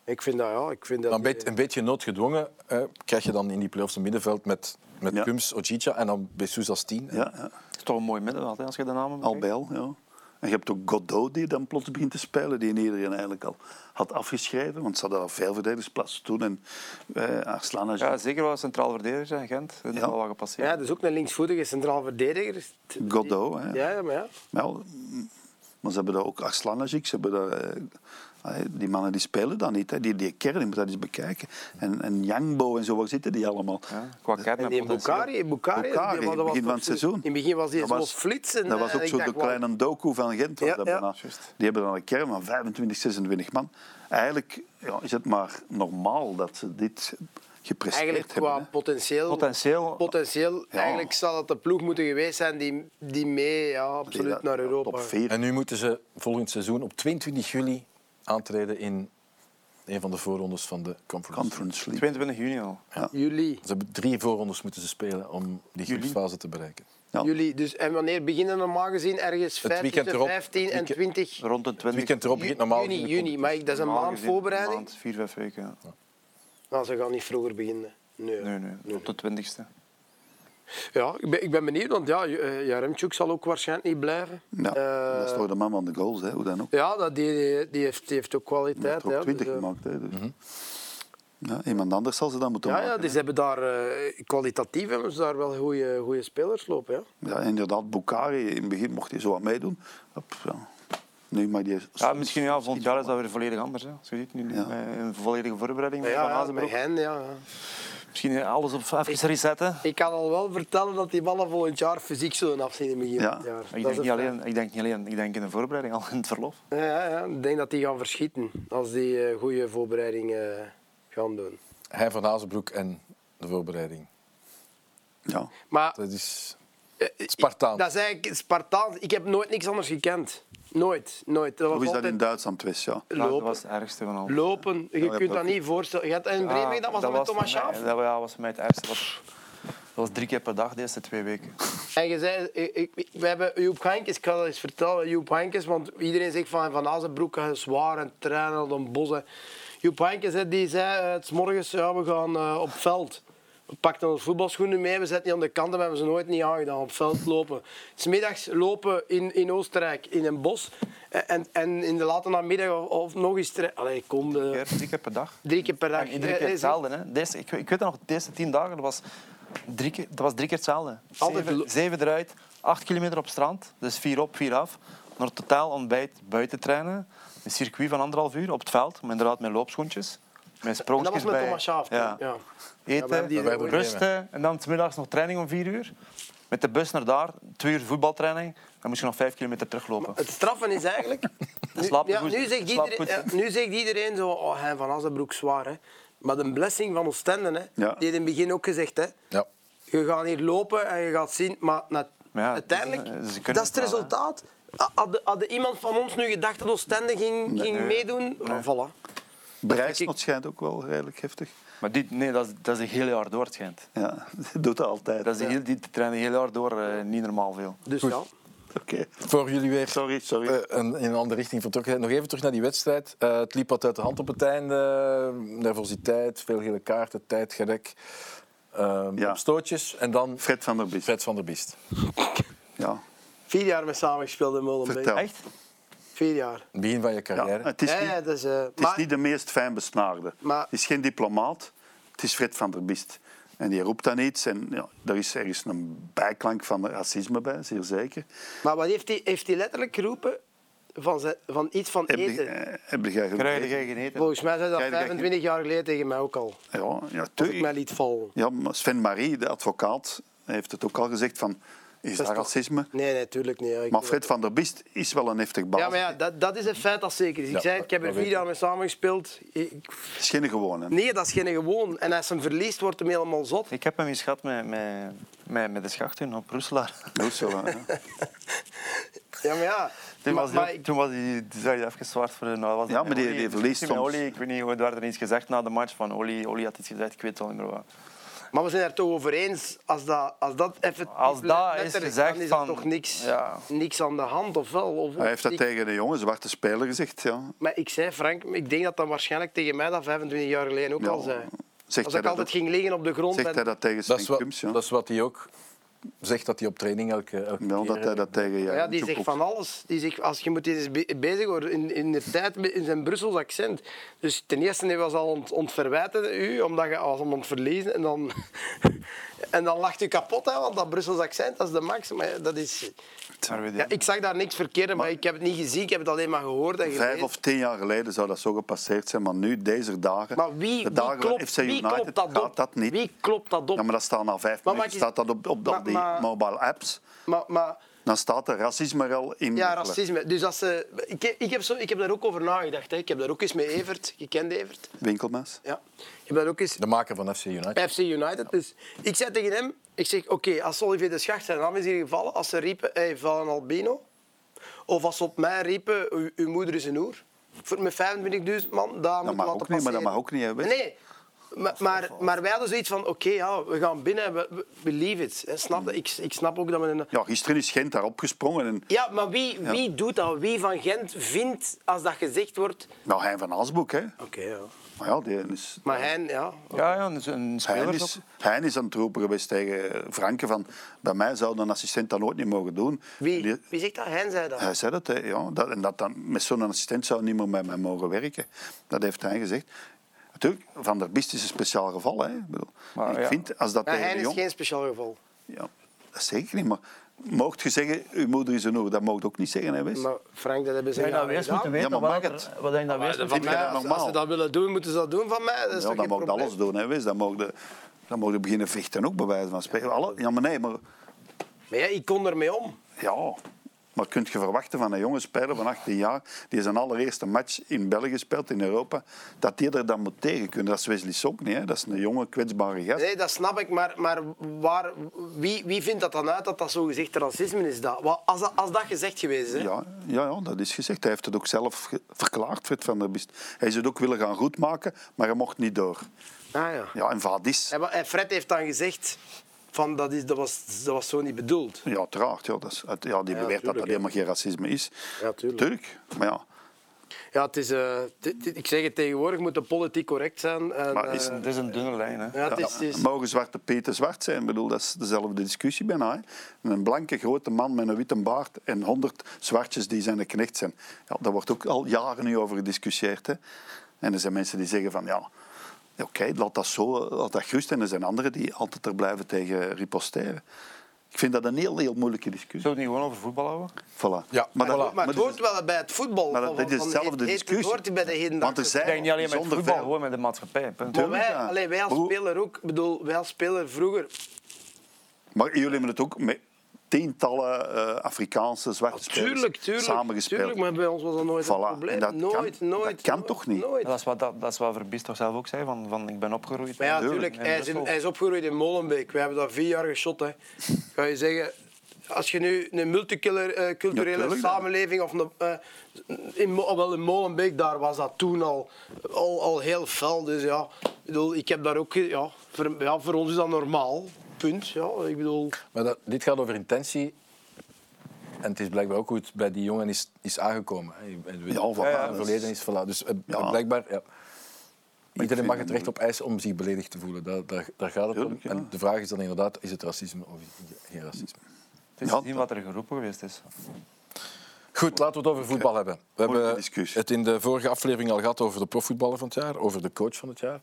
Ik vind dat, ja. Ik vind dat eh,
Maar een,
die-
beetje, een beetje noodgedwongen eh, krijg je dan in die play-offs een middenveld met, met
Ja.
Kums, Ojicha en dan Bessous als tien.
Ja, ja.
Het is toch een mooi middenveld, hè, als je de namen
Al
bekijkt.
bij al, ja. En je hebt ook Godot die dan plots begint te spelen, die iedereen eigenlijk al had afgeschreven, want ze hadden al veel verdedigersplaatsen toen. En eh Arslana,
Ja, zeker wel centraal verdediger, hè, Gent. Dat is
Ja.
wel wat gepasseerd.
Ja, dus ook een linksvoetige centraal verdediger.
Godot, hè.
Ja, ja, maar ja.
Wel, mm, maar ze hebben daar ook Arslanagic, ze hebben daar... eh, allee, die mannen die spelen dan niet, hè. Die, die kern, je moet dat eens bekijken. En, en Yangbo en zo, waar zitten die allemaal?
Ja, qua kern
dus- En
en
die
potentieel.
Bukari, Bukari,
Bukhari,
eh, die-
begin
dat was
van het
toch-
seizoen.
In het begin was die
Dat
zo
was-
flitsen.
Dat was
eh,
ook
ik
zo
dacht,
de
wow.
kleine doku van Gent. was
Ja,
dat
ja.
bijna. Die hebben dan een kern van 25, 26 man. Eigenlijk ja, is het maar normaal dat ze dit gepresteerd
Eigenlijk
hebben.
qua
hè.
potentieel...
Potentieel.
potentieel Eigenlijk zou dat de ploeg moeten geweest zijn die, die mee, ja,
Die
absoluut,
dat-
naar Europa.
Top 4.
En nu moeten ze volgend seizoen op 22 juli aantreden in een van de voorrondes van de conference.
Conference League.
22 juni al.
Juli.
Ze hebben drie voorrondes moeten ze spelen om die groepsfase te bereiken.
Ja.
Juli. Dus, en wanneer beginnen normaal gezien? Ergens
Het
15,
weekend erop.
15 en
Het weekend-
20
Rond de 20.
Het weekend erop begint normaal
juni.
gezien de
juni. Maar ik- dat is een
Normaal
maand
gezien een
voorbereiding.
maand, vier, vijf weken. Ja.
Nou, ze gaan niet vroeger beginnen. Nee.
Nee, nee, tot de 20ste.
Ja, ik ben, ik ben benieuwd, want ja, J- eh, Jaremchuk zal ook waarschijnlijk niet blijven.
Ja,
Eh,
dat is toch de man van de goals, hè, hoe dan ook.
ja dat, die, die, heeft, die heeft ook
Die heeft
kwaliteit.
er ook
ja,
20
dus, eh,
gemaakt. Hè, dus.
Mhm.
ja, iemand anders zal ze dan moeten
ja,
maken.
ja, dus ze hebben daar eh, kwalitatief hebben ze daar wel goede, goede spelers lopen. Ja.
Ja, inderdaad, Bukari, in het begin mocht hij zo wat meedoen. Hop, ja. Nu mag hij...
Ja, misschien ja, volgend jaar is dat weer volledig anders. Hè. Als je ziet, nu
Ja.
eh, een volledige voorbereiding
Ja,
van
ja,
Azenbroek.
met hen, ja.
Misschien alles op even resetten.
Ik kan al wel vertellen dat die mannen volgend jaar fysiek zullen afzien in het begin
Ja.
van het jaar.
Ik
Dat
denk,
is een
niet alleen, ik denk niet alleen, ik denk in de voorbereiding, al in het verlof.
feit. Ja, ja, ja. Ik denk dat die gaan verschieten als die eh, goede voorbereiding eh, gaan doen.
Hij van Hazenbroek en de voorbereiding.
Ja.
Maar
Dat is
eh,
Spartaan.
Dat is eigenlijk Spartaans. Ik heb nooit niks anders gekend. Nooit, nooit. Dat was
Hoe is dat
altijd
in Duitsland, West? Ja.
Dat
lopen.
was het ergste van alles.
Lopen, je
hebt
kunt
dat
dat niet voorstellen. Je had, en in Bremen,
Ah,
dat was dat met Thomas
voor mij-
Schaaf.
Dat was- ja, was voor mij het ergste. Dat was, dat was drie keer per dag de eerste twee
*laughs*
weken.
En je zei, eh, ik, ik- we hebben Joep Heinkes, ik ga dat eens vertellen, Joep Heinkes, want iedereen zegt van Van Azenbroek gaat zwaar en trainen dan bos. hè. Joep Heinkes hè, die zei, eh, 's morgens, ja, we gaan eh, op veld. We pakten onze voetbalschoenen mee, we zetten die aan de kant en we hebben ze nooit niet aangedaan, op veld lopen. 's middags lopen in, in Oostenrijk, in een bos. En, en, en in de late namiddag of, of nog eens... tra- Allee, kom, eh,
Keer, drie keer per dag.
drie keer per dag.
En iedere
Eh,
keer
eh,
hetzelfde. Hè. Deze, ik, ik weet nog, de eerste tien dagen dat was drie keer, dat was drie keer hetzelfde.
Altijd lo-
Zeven, zeven eruit, acht kilometer op strand, dus vier op, vier af. Naar totaal ontbijt buiten trainen. Een circuit van anderhalf uur op het veld, maar inderdaad met loopschoentjes. Met
En dat
sprongjes
was met
bij.
Thomas Schaaf. toen,
Ja.
ja. Ja, maar
Eten,
die-
wij hebben
rusten en dan 's middags nog training om vier uur. Met de bus naar daar, twee uur voetbaltraining. Dan moest je nog vijf kilometer teruglopen.
Het straffen is eigenlijk
*laughs* Dan slaapt
nu,
je
ja,
goed.
nu, zegt
Slaapt
iedereen,
goed.
ja, nu zegt iedereen zo, oh, hij van Azenbroek zwaar. Hè. Maar de blessing van Oostenden, hè,
Ja.
die heeft in het begin ook gezegd, hè,
Ja.
je gaat hier lopen en je gaat zien, maar na-
Maar ja,
uiteindelijk, dat
ze kunnen
is het
het wel, hè.
resultaat. Had, had iemand van ons nu gedacht dat Oostende ging, ging meedoen? Ah, voilà.
Breisnot schijnt ook wel redelijk heftig.
Maar dit, nee, dat is, dat is een heel jaar door, het schijnt.
Ja, *laughs* dat doet hij altijd.
Dat is een heel, die trainen heel jaar door, eh, niet normaal veel.
Dus ja.
Oké.
Voor jullie weer
Sorry, sorry.
eh, een, in een andere richting vertrokken zijn. Nog even terug naar die wedstrijd. Eh, het liep wat uit de hand op het einde. Nervositeit, veel gele kaarten, tijdgerek. eh,
Ja.
op stootjes. En dan
Fred van der Bies.
Fred van der Biest.
Ja,
Vier jaar met samen gespeeld in
vertel.
Molenbeek.
Echt?
Vier jaar.
Begin van je
Ja,
carrière.
het is
ja,
niet,
ja,
het
dat is, eh,
is
maar
niet de meest fijn besnaarde.
Maar-
Het is geen diplomaat, het is Fred van der Biest. En die roept dan iets en ja, er is ergens een bijklank van racisme bij, zeer zeker.
Maar wat heeft hij heeft hij letterlijk geroepen van, zijn- van iets van
Heb je-
eten?
eh, Heb jij goed
Krijg je
gegeten?
geen eten?
Volgens mij zei dat
Jij hebt dat
25 jaar geleden tegen mij ook al.
Ja, ja,
Dat ik mij
tuurlijk.
liet vallen.
ja, maar Sven Marie, de advocaat, heeft het ook al gezegd van... Is dat,
toch-
racisme?
Nee, nee, tuurlijk niet. hè. Ik
Maar
doe
Fred van der Biest is wel een heftig baas.
Ja, maar ja, dat, dat is een feit dat zeker is. Ik
Ja,
zei, het, ik heb er
dat
vier
weet
jaar mee samengespeeld. Ik-
Het is geen gewone.
Nee, dat is geen gewoon. En als hem verliest, wordt hem helemaal zot.
Ik heb hem eens gehad met, met, met, met de schacht toen op Roeselaar. *laughs*
Goed zo, hè.
Ja, maar ja.
Toen
Maar-
was,
maar
hij ook- toen was hij, die zei hij afgezwaard voor de... Nou, was
Ja,
dat
maar die-
Oli?
die verliest
Misschien met
soms.
Oli, ik weet niet, er werd er iets gezegd na de match van Oli. Oli had iets gezegd, ik weet het al niet meer wat.
Maar we zijn er toch over eens, als dat, als dat even...
Als dat is gezegd
Dan is er
van-
toch niks,
Ja.
niks aan de hand, of wel? Of,
Hij heeft dat
ik-
tegen de jonge zwarte speler gezegd. Ja.
Maar ik zei, Frank, ik denk dat dat waarschijnlijk tegen mij dat 25 jaar geleden ook
Ja,
al zei.
Zegt
Als
hij
ik
dat
altijd
ook?
ging liggen op de grond...
Zegt hij
en-
dat tegen
Dat
Sven
is, wat,
Kums? Ja.
dat is wat hij ook zegt dat hij op training elke, elke
Wel
keer, eh,
dat hij dat tegen
Ja,
jou
die zegt van alles. Die zegt, als je moet eens be- bezig worden in, in de tijd met- in zijn Brussels accent. Dus ten eerste hij was al ont, ontverwijten u, omdat je was om verliezen. En dan, *laughs* en dan lacht u kapot, hè, want dat Brussels accent dat is de max. Maar ja, dat is,
Maar weet je-
ja, ik zag daar niks verkeerd, maar, ik heb het niet gezien, ik heb het alleen maar gehoord en gelezen.
Vijf of tien jaar geleden zou dat zo gepasseerd zijn, maar nu, deze dagen,
Maar wie,
de
wie,
dagen van
klopt,
FC
wie
United,
klopt dat
gaat
op?
dat niet.
Wie klopt dat op?
Ja, maar dat staat na vijf
Maar
minuten,
mag je-
staat dat op, op, op
Maar-
die
maar-
mobile apps.
maar, maar
Dan staat er racisme er al in.
Ja, racisme. Dus als ze, ik, heb- ik, heb zo, ik heb daar ook over nagedacht. Hè. Ik heb daar ook eens met Evert, je kent Evert.
Winkelmans.
Ja. Ik heb daar ook eens
de maker van FC United.
bij FC United. Dus ik zei tegen hem, ik zeg, oké, als Olivier de Schacht zijn naam is hier gevallen, als ze riepen, hey, val een albino. Of als ze op mij riepen, "U- uw moeder is een oer. Voor met 25.000 man, daar moet
mag
laten
ook niet, maar dat
passeren.
mag ook niet, hè, Wes?
Nee. Maar, maar, maar wij hadden zoiets van, oké, ja, we gaan binnen, we, we- believe it. Hè, snap,
Hmm.
je? ik, ik snap ook dat we een...
Ja, gisteren is Gent daar opgesprongen. En,
Ja, maar wie, wie doet dat? Wie van Gent vindt, als dat gezegd wordt...
nou, Hein van Asboek, hè.
Oké, ja.
Maar ja, die is...
Maar hij, ja.
Ja, ja, dus- een- een
Hein
speler
is,
ook.
Hein is aan het roepen geweest tegen Franke van... Bij mij zou een assistent dat nooit niet mogen doen.
Wie,
Die-
wie zegt dat? Hij zei dat.
Hij zei dat, hè, ja. dat en dat dan, met zo'n assistent zou niemand met mij mogen werken. Dat heeft hij gezegd. Natuurlijk, Van der Biest is een speciaal geval. Hè. Ik, bedoel,
Maar
ik
ja.
vind, als dat
Ja,
tegen
hij
de
is
jong...
geen speciaal geval.
Ja, dat zeg ik niet, maar... Mocht je zeggen, uw moeder is een oer, dat mocht ook niet zeggen, hè, Wes?
Maar Frank, dat hebben ze
Zou je dat
jaren
wees
gedaan.
moeten weten?
Ja, maar
wat
mag
er-
het?
Wat hij nou dat wees
Van
Vind je
mij,
dat
als, als
normaal?
ze dat willen doen, moeten ze dat doen van mij. Dat is
ja,
toch
dan
geen
mocht
probleem?
alles doen, hè, Wes? Dan mocht je- dan mocht je beginnen vechten ook, bij wijze van spelen. Alle, ja, maar nee, maar...
Maar ja, ik kon ermee om.
Ja, maar kunt je verwachten van een jonge speler van 18 jaar, die zijn allereerste match in België speelt, in Europa, dat die er dan moet tegen kunnen? Dat is Wesley Sok niet, hè? Dat is een jonge, kwetsbare gast.
Nee, dat snap ik, maar, maar waar, wie, wie vindt dat dan uit dat dat zogezegd racisme is? Dat? Wat- Als, dat, als dat gezegd geweest is, hè?
Ja, ja, ja, dat is gezegd. Hij heeft het ook zelf ge- verklaard, Fred van der Biest. Hij zou het ook willen gaan goedmaken, maar hij mocht niet door.
Ah, ja.
Ja, en Vadis,
En wat- En Fred heeft dan gezegd, van, dat, is, dat, was, dat was zo niet bedoeld.
ja, uiteraard. Ja, dat is, uit- ja, die beweert dat
tuurlijk,
dat
hè.
helemaal geen racisme is.
Ja, tuurlijk.
Maar ja,
Ja, het is, eh, t- t- ik zeg het tegenwoordig, moet de politiek correct zijn. En,
Maar is-
eh,
Het is een dunne lijn, hè.
ja, het is, het is-
mogen zwarte Peter zwart zijn? Ik bedoel, dat is dezelfde discussie bijna. Hè? Een blanke grote man met een witte baard en honderd zwartjes die zijn knecht zijn. Ja, daar wordt ook al jaren nu over gediscussieerd. Hè? En er zijn mensen die zeggen van ja, oké, laat dat zo, laat dat gerust. En er zijn anderen die altijd er blijven tegen riposteren. Ik vind dat een heel, heel moeilijke discussie.
Zou het niet gewoon over voetbal houden?
Voilà.
Ja,
dat-
voilà.
Maar het
dit
hoort wel bij het voetbal.
maar dat-
van-
dit is
van-
dezelfde
heet- heet-
discussie.
Het hoort bij de hedendaagse
Want er zijn-
Ik denk niet alleen met
Zonder
voetbal,
veel.
gewoon met de maatschappij. punt.
Maar wij,
Ja.
allee, wij als
Hoe-
speler ook, Ik bedoel, wij als speler vroeger.
Maar jullie hebben het ook met tientallen eh, Afrikaanse zwarte
Tuurlijk,
spelers
tuurlijk.
samengespeeld.
Tuurlijk, maar bij ons was dat nooit
Voilà,
een probleem.
en dat kan-
nooit,
dat
nooit.
kan
nooit,
toch niet?
Nooit.
Dat is wat, dat, dat is wat Verbies toch zelf ook zei, van, van ik ben opgeroeid.
Maar ja,
in Deurne,
natuurlijk.
in
Hij is, in-
Brussel.
hij is opgegroeid in Molenbeek. We hebben daar vier jaar geschot. Hè. Ga je zeggen, als je nu een
Ja,
multiculturele
tuurlijk, ja.
samenleving of een, eh, in, Mo- oh, wel in Molenbeek, daar was dat toen al, al, al heel fel. Dus ja, ik bedoel, ik heb daar ook ge- ja, voor, ja, voor ons is dat normaal. Punt. Ja, ik bedoel,
Maar dat, dit gaat over intentie. En het is blijkbaar ook hoe het bij die jongen is, is aangekomen. hè. Je bent-
Ja,
het
voilà.
Ja, ja.
verleden is verlaten. Dus eh,
Ja.
blijkbaar... Ja. Iedereen
vind
mag het
hem-
recht op eis om zich beledigd te voelen. Daar, daar, daar gaat het om.
Tuurlijk, ja.
En de vraag is dan inderdaad, is het racisme of is het geen racisme?
Het is
Ja,
te zien wat er geroepen geweest is.
Goed, laten we het over voetbal hebben. We
Moeilijke
hebben
discussie.
het in de vorige aflevering al gehad over de profvoetballer van het jaar, over de coach van het jaar.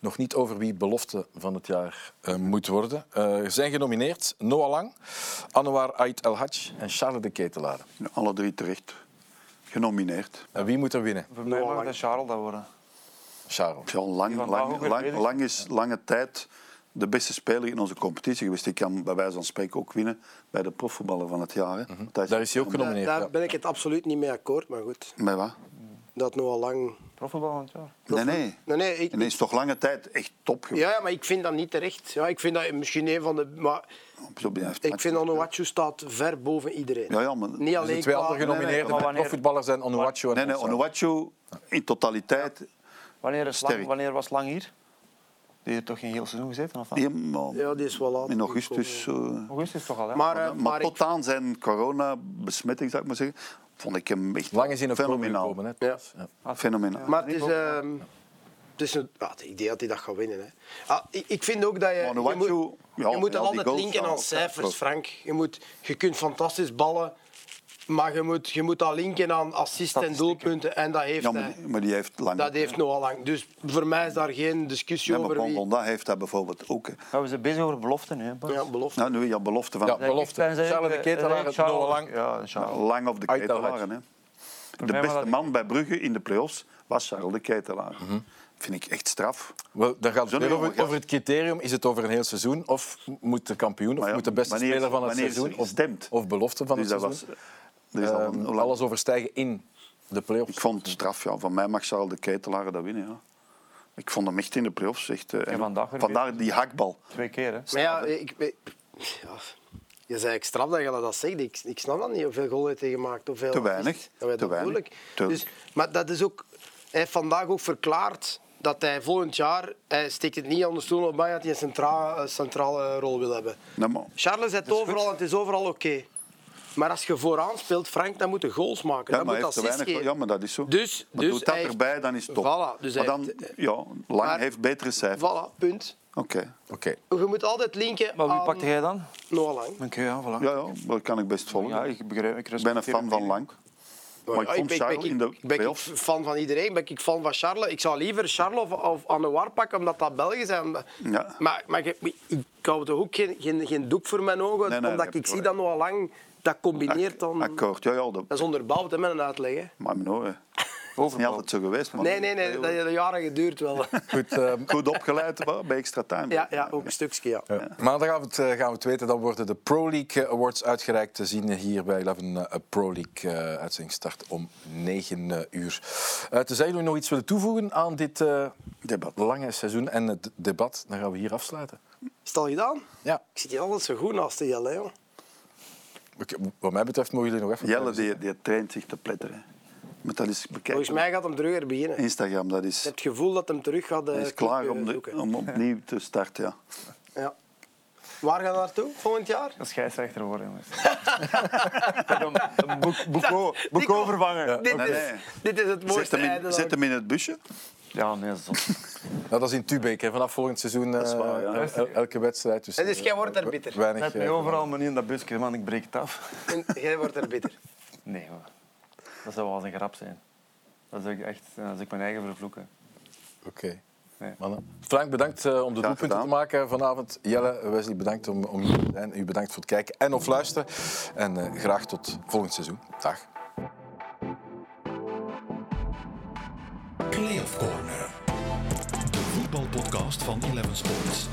Nog niet over wie belofte van het jaar eh, moet worden. Eh, Er zijn genomineerd Noah Lang, Anouar Ait El Hadj en Charles de Ketelaar.
Ja, Alle drie terecht. Genomineerd.
En wie moet er winnen?
Voor mij mag de Charles dat worden.
Charles.
Ja, lang,
Die van
lang,
Bauer
lang,
bezig.
lang is lange tijd de beste speler in onze competitie geweest. Die kan bij wijze van spreken ook winnen bij de profvoetballer van het jaar. hè. Want hij is-
Mhm. Daar is hij ook
daar,
genomineerd.
daar
ja.
ben ik het absoluut niet mee akkoord. Maar goed,
Met wat?
dat nogal lang...
Profvoetbal van het jaar.
Nee, nee.
Nee, nee, ik,
En hij is toch lange tijd echt top geweest.
ja, ja, maar ik vind dat niet terecht. Ja, ik vind dat misschien een van de... Maar
Zo ben je-
Ik vind Onuachu staat ver boven iedereen.
Ja, ja, maar-
Niet alleen
Dus de twee
qua-
andere
nee,
genomineerden
maar
bij
wanneer-
profvoetballer zijn Onuachu en
Nee, nee,
Onsal.
Onuachu in totaliteit.
Wanneer, is lang,
Sterk.
wanneer was Lang hier? Die heeft toch geen heel seizoen gezeten? Of wat?
die hem,
Ja, die is wel laat.
in augustus. eh,
Augustus toch al, hè?
Maar, eh,
maar,
maar ik,
tot aan zijn coronabesmetting, zou ik maar zeggen, vond ik hem echt
Lang is in oktober
fenomenaal.
gekomen. Hè.
Ja.
Fenomenaal.
Ah, maar het is... ehm, het is een, ja, het idee dat hij dat gaat winnen. Hè. Ah, ik, ik vind ook dat je...
Maar Onuachu,
je moet,
ja,
je moet dat
al die
altijd
goals,
linken
ja,
aan
ja,
cijfers,
klopt.
Frank. Je, moet, je kunt fantastisch ballen, maar je moet, je moet dat linken aan assist en doelpunten. En dat heeft
Ja, maar,
hij.
die, maar die heeft lang.
Dat heeft nogal lang. Dus voor mij is daar geen discussie
Ja, maar
over wie...
Bonbonda heeft dat bijvoorbeeld ook. hè.
Ja, we zijn bezig over beloften nu, hè, Bas.
Ja, belofte.
Nou, nu ja, belofte van
Ja. belofte.
Dan zei ik,
Charles de
eh,
Ketelaar,
dan zei ik
het
Charles.
Noah Lang.
Ja, Charles.
lang of de
Uit de
ketelaar.
lat.
Hè.
mij
De
was dat-
beste man bij Brugge in de play-offs was Charles de ketelaar.
Mhm.
Vind ik echt straf.
Wel, dan gaat het
Zo'n
weer
jongen,
over,
ja.
over het criterium. Is het over een heel seizoen? Of moet de kampioen, of
Maar ja,
moet de beste
wanneer is-
speler van het
wanneer is er
seizoen, of,
gestemd?
of belofte van
Dus
het
dat was.
seizoen,
Er is al een-
ehm,
hoe lang-
alles overstijgen in de play-offs?
Ik vond het straf, ja. Van mij mag Charles de ketelaar dat winnen. Ja. Ik vond hem echt in de play-offs. Echt, eh, en
vandaag weer
vandaar die hakbal.
Twee keer, hè.
Maar ja, ik, ik- ja, je zei ik straf dat je dat zegt. Ik, ik snap dat niet. Hoeveel goal heeft hij gemaakt? Hoeveel
Te weinig.
assist? Ja, maar
Te
dat
weinig.
bedoel ik.
Tuurlijk.
Dus, maar dat is ook... Hij heeft vandaag ook verklaard dat hij volgend jaar... Hij steekt het niet anders toe op bij dat hij een centrale, centrale rol wil hebben.
Nou, maar,
Charles zit overal en het is overal oké. Maar als je vooraan speelt, Frank, dan moet je goals maken.
ja,
dan
maar hij
moet
heeft te
assists
weinig.
geven.
Ja, maar dat is zo.
Dus-
maar
dus
doet dat
hij heeft-
erbij, dan is het top.
Voilà, dus hij
maar dan,
heeft-
ja, Lang
maar-
heeft betere cijfers.
Voilà, punt.
Oké.
Oké.
Je moet altijd linken
Maar wie
aan
pakte jij dan?
Noah Lang.
Oké, ja, voilà.
Ja, ja, dat kan ik best volgen.
Ja, ik begrijp, ik
ik ben een
respecteer
fan
het
van
niet.
Lang. Maar ik
Ja,
vond
ben-
Charles
ben-
in de
ik ben ik
play-offs-
fan van iedereen. Ben ik fan van Charles. Ik zou liever Charles of, of Anouar pakken, omdat dat Belgen zijn.
Ja.
Maar, maar ik, ik ik hou toch ook geen, geen, geen doek voor mijn ogen,
Nee, nee,
omdat
dat
ik
heb
zie
ik
dat nog al lang. Dat combineert dan...
Akkoord. Ja, ja, dat,
Dat is onderbouwd hè, met een uitleg. Hè.
Maar mijn hoor, is niet altijd zo geweest. Maar
Nee, nee, nee, dat heeft jaren geduurd wel.
Goed, ehm,
eh, *laughs* Goed opgeleid maar bij extra time.
ja, ja, ook een stukje, ja.
Maandagavond eh, gaan we het weten. Dan worden de Pro League eh, Awards uitgereikt. Te zien hier bij 11 eh, Pro League. eh, uitzending start om 9 uur. Eh tenzij jullie nog iets willen toevoegen aan dit eh,
Debat.
lange seizoen en het debat, dan gaan we hier afsluiten.
Is het al gedaan?
Ja,
Ik zit hier altijd zo goed naast de Jelle, joh.
ik- wat mij betreft mogen jullie nog even...
Jelle die, die traint zich te pletteren. Maar dat is
Volgens
bekijken.
mij gaat hem terug weer beginnen. Ik
Instagram, dat is,
heb het gevoel dat hem terug gaat... eh,
dat is klaar om,
club, eh,
de-
zoeken.
om opnieuw te starten. Ja.
Ja. Waar gaan we naartoe volgend jaar?
Een scheidsrechter worden,
*laughs*
jongens. Een boek, boek, boek
Nico.
overvangen. Ja,
Dit,
Nee,
is,
nee.
dit is het
Zet,
mooiste
hem
einde
in,
dat
zet
ik-
hem in het busje.
nee, dat is zot.
Nou, dat is in Tubeek, hè. vanaf volgend seizoen eh,
is waar, ja.
el- el- elke wedstrijd. Dus,
En dus
eh,
jij wordt arbiter?
we- Weinig,
Zet
eh,
mij overal maar niet in dat busje, man. Ik breek het af.
En jij wordt er bitter.
Nee, hoor. Dat zou wel eens een grap zijn. Dat zou ik echt... Dat zou ik mijn eigen vervloeken.
Oké.
Nee.
Mannen. Frank, bedankt eh, om de
Graag
doelpunten
gedaan.
te maken vanavond. Jelle, Wesley, bedankt om, om hier te zijn. U bedankt voor het kijken en of luisteren. En eh, graag tot volgend seizoen. Dag.
Playoff Corner. De voetbalpodcast van Eleven Sports.